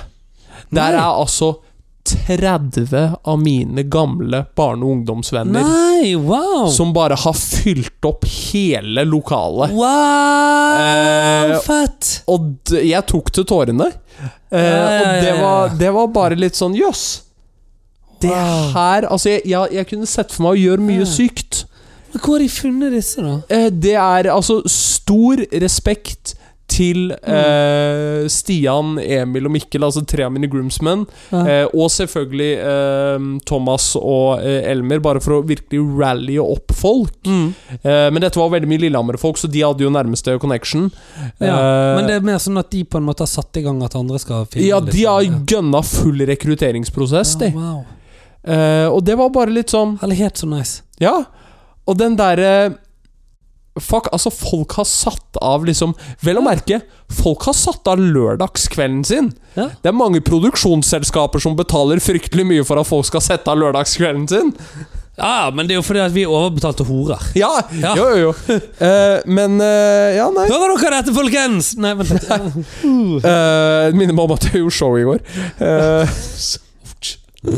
[SPEAKER 1] Nei.
[SPEAKER 2] Der er altså 30 av mine gamle barne- og ungdomsvenner
[SPEAKER 1] Nei, wow!
[SPEAKER 2] som bare har fylt opp hele lokalet.
[SPEAKER 1] Wow,
[SPEAKER 2] Eh,
[SPEAKER 1] fett!
[SPEAKER 2] Og d jeg tok til tårene. Eh,
[SPEAKER 1] Ja, ja,
[SPEAKER 2] Og det
[SPEAKER 1] ja, ja.
[SPEAKER 2] var, det var bare litt sånn jøss. Det
[SPEAKER 1] Wow.
[SPEAKER 2] her Altså, jeg, jeg, jeg kunne sett for meg å gjøre mye
[SPEAKER 1] Ja.
[SPEAKER 2] sykt.
[SPEAKER 1] Men Hvor har de funnet disse, da?
[SPEAKER 2] Eh, det er altså stor respekt til
[SPEAKER 1] Mm.
[SPEAKER 2] eh, Stian, Emil og Mikkel, altså tre av mine groomsmen.
[SPEAKER 1] Ja.
[SPEAKER 2] Eh, og selvfølgelig eh, Thomas og eh, Elmer, bare for å virkelig rallye opp folk.
[SPEAKER 1] Mm.
[SPEAKER 2] Eh, men dette var veldig mye Lillehammer-folk, så de hadde jo nærmeste connection.
[SPEAKER 1] Ja,
[SPEAKER 2] Eh,
[SPEAKER 1] Men det er mer sånn at de på en måte har satt i gang at andre skal finne
[SPEAKER 2] ja,
[SPEAKER 1] litt
[SPEAKER 2] de har
[SPEAKER 1] sånn,
[SPEAKER 2] gønna full rekrutteringsprosess,
[SPEAKER 1] ja.
[SPEAKER 2] de.
[SPEAKER 1] Ja, wow.
[SPEAKER 2] Eh, og det var bare litt sånn
[SPEAKER 1] Eller helt så nice.
[SPEAKER 2] Ja. Og den derre Fuck, altså, folk har satt av liksom Vel å merke, folk har satt av lørdagskvelden sin.
[SPEAKER 1] Ja.
[SPEAKER 2] Det er mange produksjonsselskaper som betaler fryktelig mye for at folk skal sette av lørdagskvelden sin.
[SPEAKER 1] Ja, men det er jo fordi at vi er overbetalte horer.
[SPEAKER 2] Ja,
[SPEAKER 1] Ja.
[SPEAKER 2] jo, jo, jo. Eh, men eh, Ja, nei.
[SPEAKER 1] Hører dere dette, folkens?! Nei, vent litt.
[SPEAKER 2] Uh, minner meg om at jeg gjorde show i går. Eh,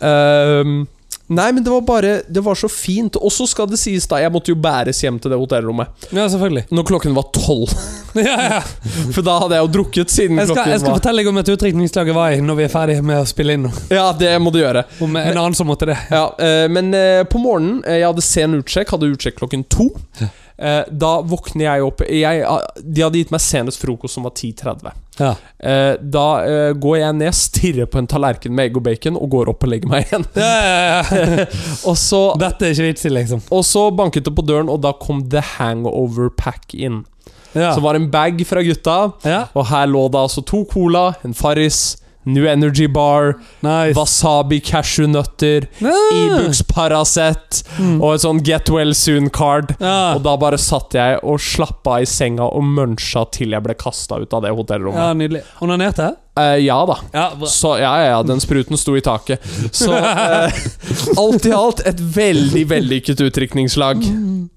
[SPEAKER 2] ehm, nei, men det var bare Det var så fint. Og så skal det sies, da. Jeg måtte jo bæres hjem til det hotellrommet.
[SPEAKER 1] Ja, selvfølgelig.
[SPEAKER 2] Når klokken var tolv.
[SPEAKER 1] Ja, ja.
[SPEAKER 2] For da hadde jeg jo drukket siden
[SPEAKER 1] Jeg, skal,
[SPEAKER 2] klokken
[SPEAKER 1] jeg skal
[SPEAKER 2] var
[SPEAKER 1] fortelle deg om et utdrikningslag jeg var i når vi er ferdig med å spille inn.
[SPEAKER 2] Ja, det må du gjøre.
[SPEAKER 1] Om en annen som måtte det.
[SPEAKER 2] Ja, eh, men eh, på morgenen eh, Jeg hadde sen utsjekk, hadde utsjekk klokken to. Eh, da våkner jeg opp jeg, ah, De hadde gitt meg senest frokost som var 10.30.
[SPEAKER 1] Ja.
[SPEAKER 2] Eh, da eh, går jeg ned, stirrer på en tallerken med egg og bacon og går opp og legger meg igjen.
[SPEAKER 1] Ja, ja, ja.
[SPEAKER 2] Og så,
[SPEAKER 1] Dette er ikke vits i, liksom.
[SPEAKER 2] og så banket det på døren, og da kom The Hangover Pack inn.
[SPEAKER 1] Ja.
[SPEAKER 2] Som var en bag fra gutta.
[SPEAKER 1] ja.
[SPEAKER 2] Og her lå det altså to cola, en Farris, New Energy Bar,
[SPEAKER 1] Nice.
[SPEAKER 2] wasabi cashewnøtter,
[SPEAKER 1] Ja.
[SPEAKER 2] Ibux Paracet
[SPEAKER 1] Mm. Ah.
[SPEAKER 2] og et sånn Get Well Soon-card.
[SPEAKER 1] Ja.
[SPEAKER 2] Og da bare satt jeg og slappa av i senga og muncha til jeg ble kasta ut av det
[SPEAKER 1] ja,
[SPEAKER 2] hotellrommet.
[SPEAKER 1] nydelig. Onanerte?
[SPEAKER 2] Eh, ja da.
[SPEAKER 1] Ja, bra.
[SPEAKER 2] Så ja, ja, ja, den spruten sto i taket. Så eh, alt i alt et veldig vellykket utdrikningslag.
[SPEAKER 1] Mm.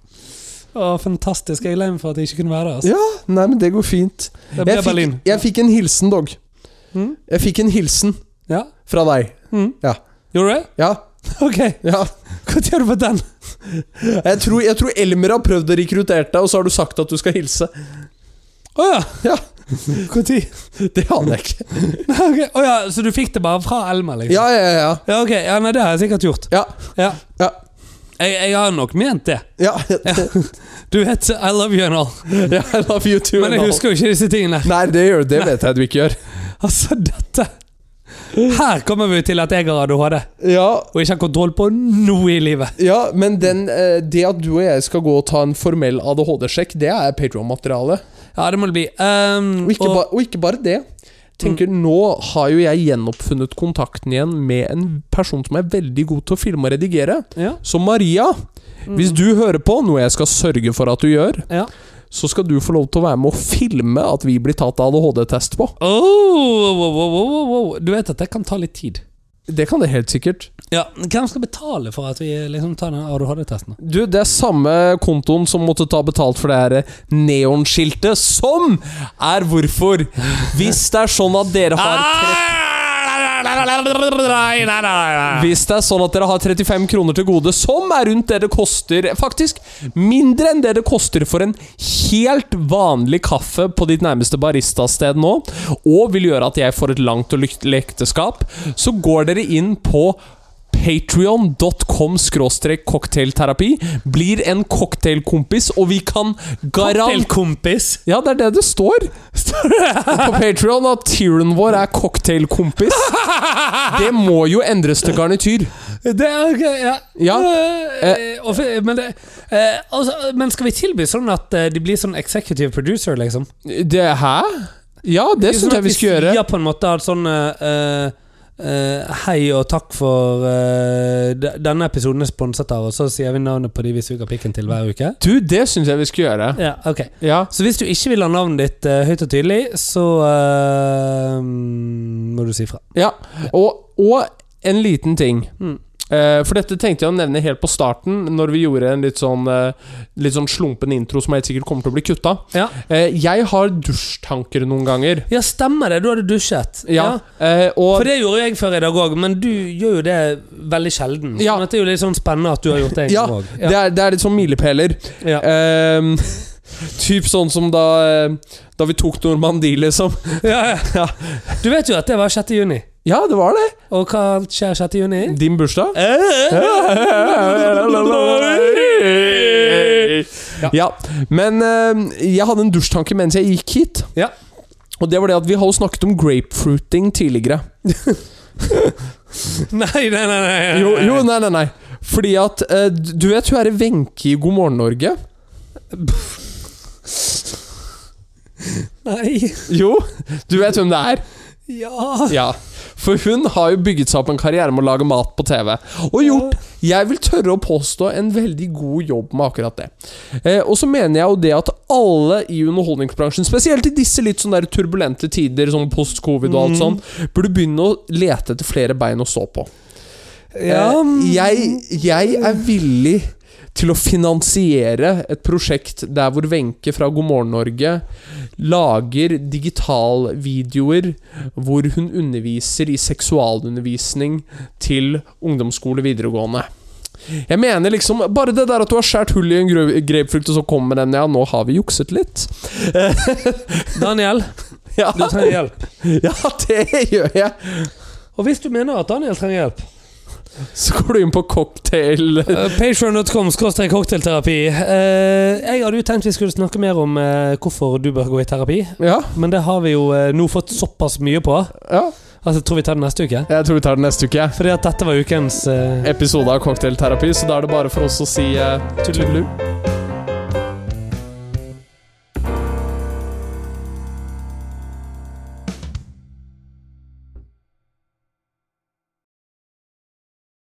[SPEAKER 1] Å, fantastisk. Jeg er lei meg for at jeg ikke kunne være der. Altså.
[SPEAKER 2] Ja, nei, men det går fint.
[SPEAKER 1] Det ble
[SPEAKER 2] Jeg fikk,
[SPEAKER 1] Berlin.
[SPEAKER 2] jeg fikk en hilsen, dog.
[SPEAKER 1] Mm.
[SPEAKER 2] Jeg fikk en hilsen
[SPEAKER 1] Ja.
[SPEAKER 2] fra deg.
[SPEAKER 1] Mm.
[SPEAKER 2] Ja.
[SPEAKER 1] Gjorde du det?
[SPEAKER 2] Ja.
[SPEAKER 1] Ok.
[SPEAKER 2] ja.
[SPEAKER 1] Hva gjør du på den?
[SPEAKER 2] Jeg tror, jeg tror Elmer har prøvd å rekruttere deg, og så har du sagt at du skal hilse.
[SPEAKER 1] Å ja.
[SPEAKER 2] Ja.
[SPEAKER 1] Når?
[SPEAKER 2] Det aner jeg ikke.
[SPEAKER 1] Okay. Å ja, så du fikk det bare fra Elmer, liksom?
[SPEAKER 2] Ja, ja, ja.
[SPEAKER 1] Ja, ok. Ja, nei, det har jeg sikkert gjort.
[SPEAKER 2] Ja.
[SPEAKER 1] Ja.
[SPEAKER 2] Ja.
[SPEAKER 1] Jeg, jeg har nok ment det.
[SPEAKER 2] Ja,
[SPEAKER 1] Du vet, I love you and all.
[SPEAKER 2] ja I love you too.
[SPEAKER 1] Men
[SPEAKER 2] and
[SPEAKER 1] jeg
[SPEAKER 2] all.
[SPEAKER 1] husker jo ikke disse tingene.
[SPEAKER 2] Nei, det gjør Det vet jeg du ikke gjør.
[SPEAKER 1] Altså, dette Her kommer vi til at jeg har ADHD
[SPEAKER 2] Ja,
[SPEAKER 1] og ikke har kontroll på noe i livet.
[SPEAKER 2] ja men den, eh, det at du og jeg skal gå og ta en formell ADHD-sjekk, det er Patreon-materiale.
[SPEAKER 1] Ja, det må det bli. Ehm,
[SPEAKER 2] Og, ikke
[SPEAKER 1] og-
[SPEAKER 2] ba- og ikke bare det. Tenker, Nå har jo jeg gjenoppfunnet kontakten igjen med en person som er veldig god til å filme og redigere.
[SPEAKER 1] ja,
[SPEAKER 2] Så Maria, hvis du hører på, noe jeg skal sørge for at du gjør,
[SPEAKER 1] ja.
[SPEAKER 2] så skal du få lov til å være med å filme at vi blir tatt ADHD-test på.
[SPEAKER 1] Oh, wow, wow, wow, wow, wow. Du vet at det kan ta litt tid.
[SPEAKER 2] Det kan det helt sikkert.
[SPEAKER 1] Ja, men Hvem skal betale for at vi liksom tar den ADHD-testen? da?
[SPEAKER 2] Du, det er samme kontoen som måtte ta betalt for det her neonskiltet, som er hvorfor. Hvis det er sånn at dere
[SPEAKER 1] Ah!
[SPEAKER 2] har Hvis det er sånn at dere har 35 kroner til gode, som er rundt det det koster Faktisk mindre enn det det koster for en helt vanlig kaffe på ditt nærmeste baristasted nå, og vil gjøre at jeg får et langt og lykkelig ekteskap, så går dere inn på Patreon.com cocktailterapi. Blir en cocktailkompis, og vi kan garant...
[SPEAKER 1] Cocktailkompis.
[SPEAKER 2] Ja, det er det det står. På Patreon at tearen vår er cocktailkompis. Det må jo endres til garnityr.
[SPEAKER 1] Det er ok, ja.
[SPEAKER 2] Ja.
[SPEAKER 1] Eh, og for- men, det, eh, altså, men skal vi tilby sånn at eh, de blir sånn executive producer, liksom?
[SPEAKER 2] Det Hæ? Ja, det syns
[SPEAKER 1] sånn
[SPEAKER 2] jeg vi skal gjøre.
[SPEAKER 1] Ja, på en måte at sånn eh, eh, Hei og takk for eh, de- Denne episoden er sponset av, og så sier vi navnet på de vi suger pikken til hver uke.
[SPEAKER 2] Du, det syns jeg vi skal gjøre.
[SPEAKER 1] Ja, ok
[SPEAKER 2] Ja.
[SPEAKER 1] Så hvis du ikke vil ha navnet ditt eh, høyt og tydelig, så eh, må du si fra.
[SPEAKER 2] ja. Og, og en liten ting.
[SPEAKER 1] Mm.
[SPEAKER 2] Eh, for dette tenkte jeg å nevne helt på starten, når vi gjorde en litt sånn, eh, litt sånn slumpen intro som helt sikkert kommer til å bli kutta.
[SPEAKER 1] Ja,
[SPEAKER 2] Eh, jeg har dusjtanker noen ganger.
[SPEAKER 1] ja stemmer det. Du hadde dusjet.
[SPEAKER 2] Ja. Eh, og
[SPEAKER 1] For det gjorde jeg før i dag òg, men du gjør jo det veldig sjelden.
[SPEAKER 2] Ja.
[SPEAKER 1] Sånn at det er jo litt sånn spennende at du har gjort det en
[SPEAKER 2] Ja,
[SPEAKER 1] gang òg.
[SPEAKER 2] det er, det er litt sånn milepæler.
[SPEAKER 1] Ja.
[SPEAKER 2] Ehm, typ sånn som da eh, Da vi tok Normandie, liksom.
[SPEAKER 1] Ja, ja. Du vet jo at det var 6. juni.
[SPEAKER 2] Ja, det var det.
[SPEAKER 1] Og hva skjer 6. juni?
[SPEAKER 2] Din bursdag.
[SPEAKER 1] Eh, eh, eh, eh, eh, eh, eh, eh, eh, eh,
[SPEAKER 2] gøy. Ja. Men eh, jeg hadde en dusjtanke mens jeg gikk hit.
[SPEAKER 1] Ja.
[SPEAKER 2] Og det var det at vi har jo snakket om grapefruiting tidligere.
[SPEAKER 1] Nei, nei, nei, nei.
[SPEAKER 2] Jo, jo nei, nei, nei. Fordi at eh, Du vet hun er Wenche i God morgen Norge?
[SPEAKER 1] nei.
[SPEAKER 2] Jo, du vet hvem det er?
[SPEAKER 1] Ja.
[SPEAKER 2] Ja. For hun har jo bygget seg opp en karriere med å lage mat på TV. Og gjort, jeg vil tørre å påstå, en veldig god jobb med akkurat det. Eh, og så mener jeg jo det at alle i underholdningsbransjen, spesielt i disse litt sånn der turbulente tider, sånn post-covid og alt sånn, burde begynne å lete etter flere bein å stå på.
[SPEAKER 1] Ja.
[SPEAKER 2] Eh, jeg, jeg er villig til å finansiere et prosjekt der hvor Wenche fra God morgen Norge lager digitalvideoer hvor hun underviser i seksualundervisning til ungdomsskole videregående. Jeg mener liksom Bare det der at du har skåret hull i en gru- grapefrukt, og så kommer den Ja, nå har vi jukset litt.
[SPEAKER 1] Daniel,
[SPEAKER 2] Ja,
[SPEAKER 1] du trenger hjelp.
[SPEAKER 2] ja det gjør jeg.
[SPEAKER 1] Og hvis du mener at Daniel trenger hjelp
[SPEAKER 2] Så går du inn på cocktail
[SPEAKER 1] uh, Patreon.com skråstrek cocktailterapi. Eh, jeg hadde jo tenkt vi skulle snakke mer om eh, hvorfor du bør gå i terapi,
[SPEAKER 2] Ja,
[SPEAKER 1] men det har vi jo eh, nå fått såpass mye på at
[SPEAKER 2] ja.
[SPEAKER 1] jeg tror vi tar det neste uke.
[SPEAKER 2] Jeg tror vi tar det neste uke. jeg.
[SPEAKER 1] Fordi at dette var ukens eh,
[SPEAKER 2] episode av Cocktailterapi, så da er det bare for oss å si uh, tudelulu.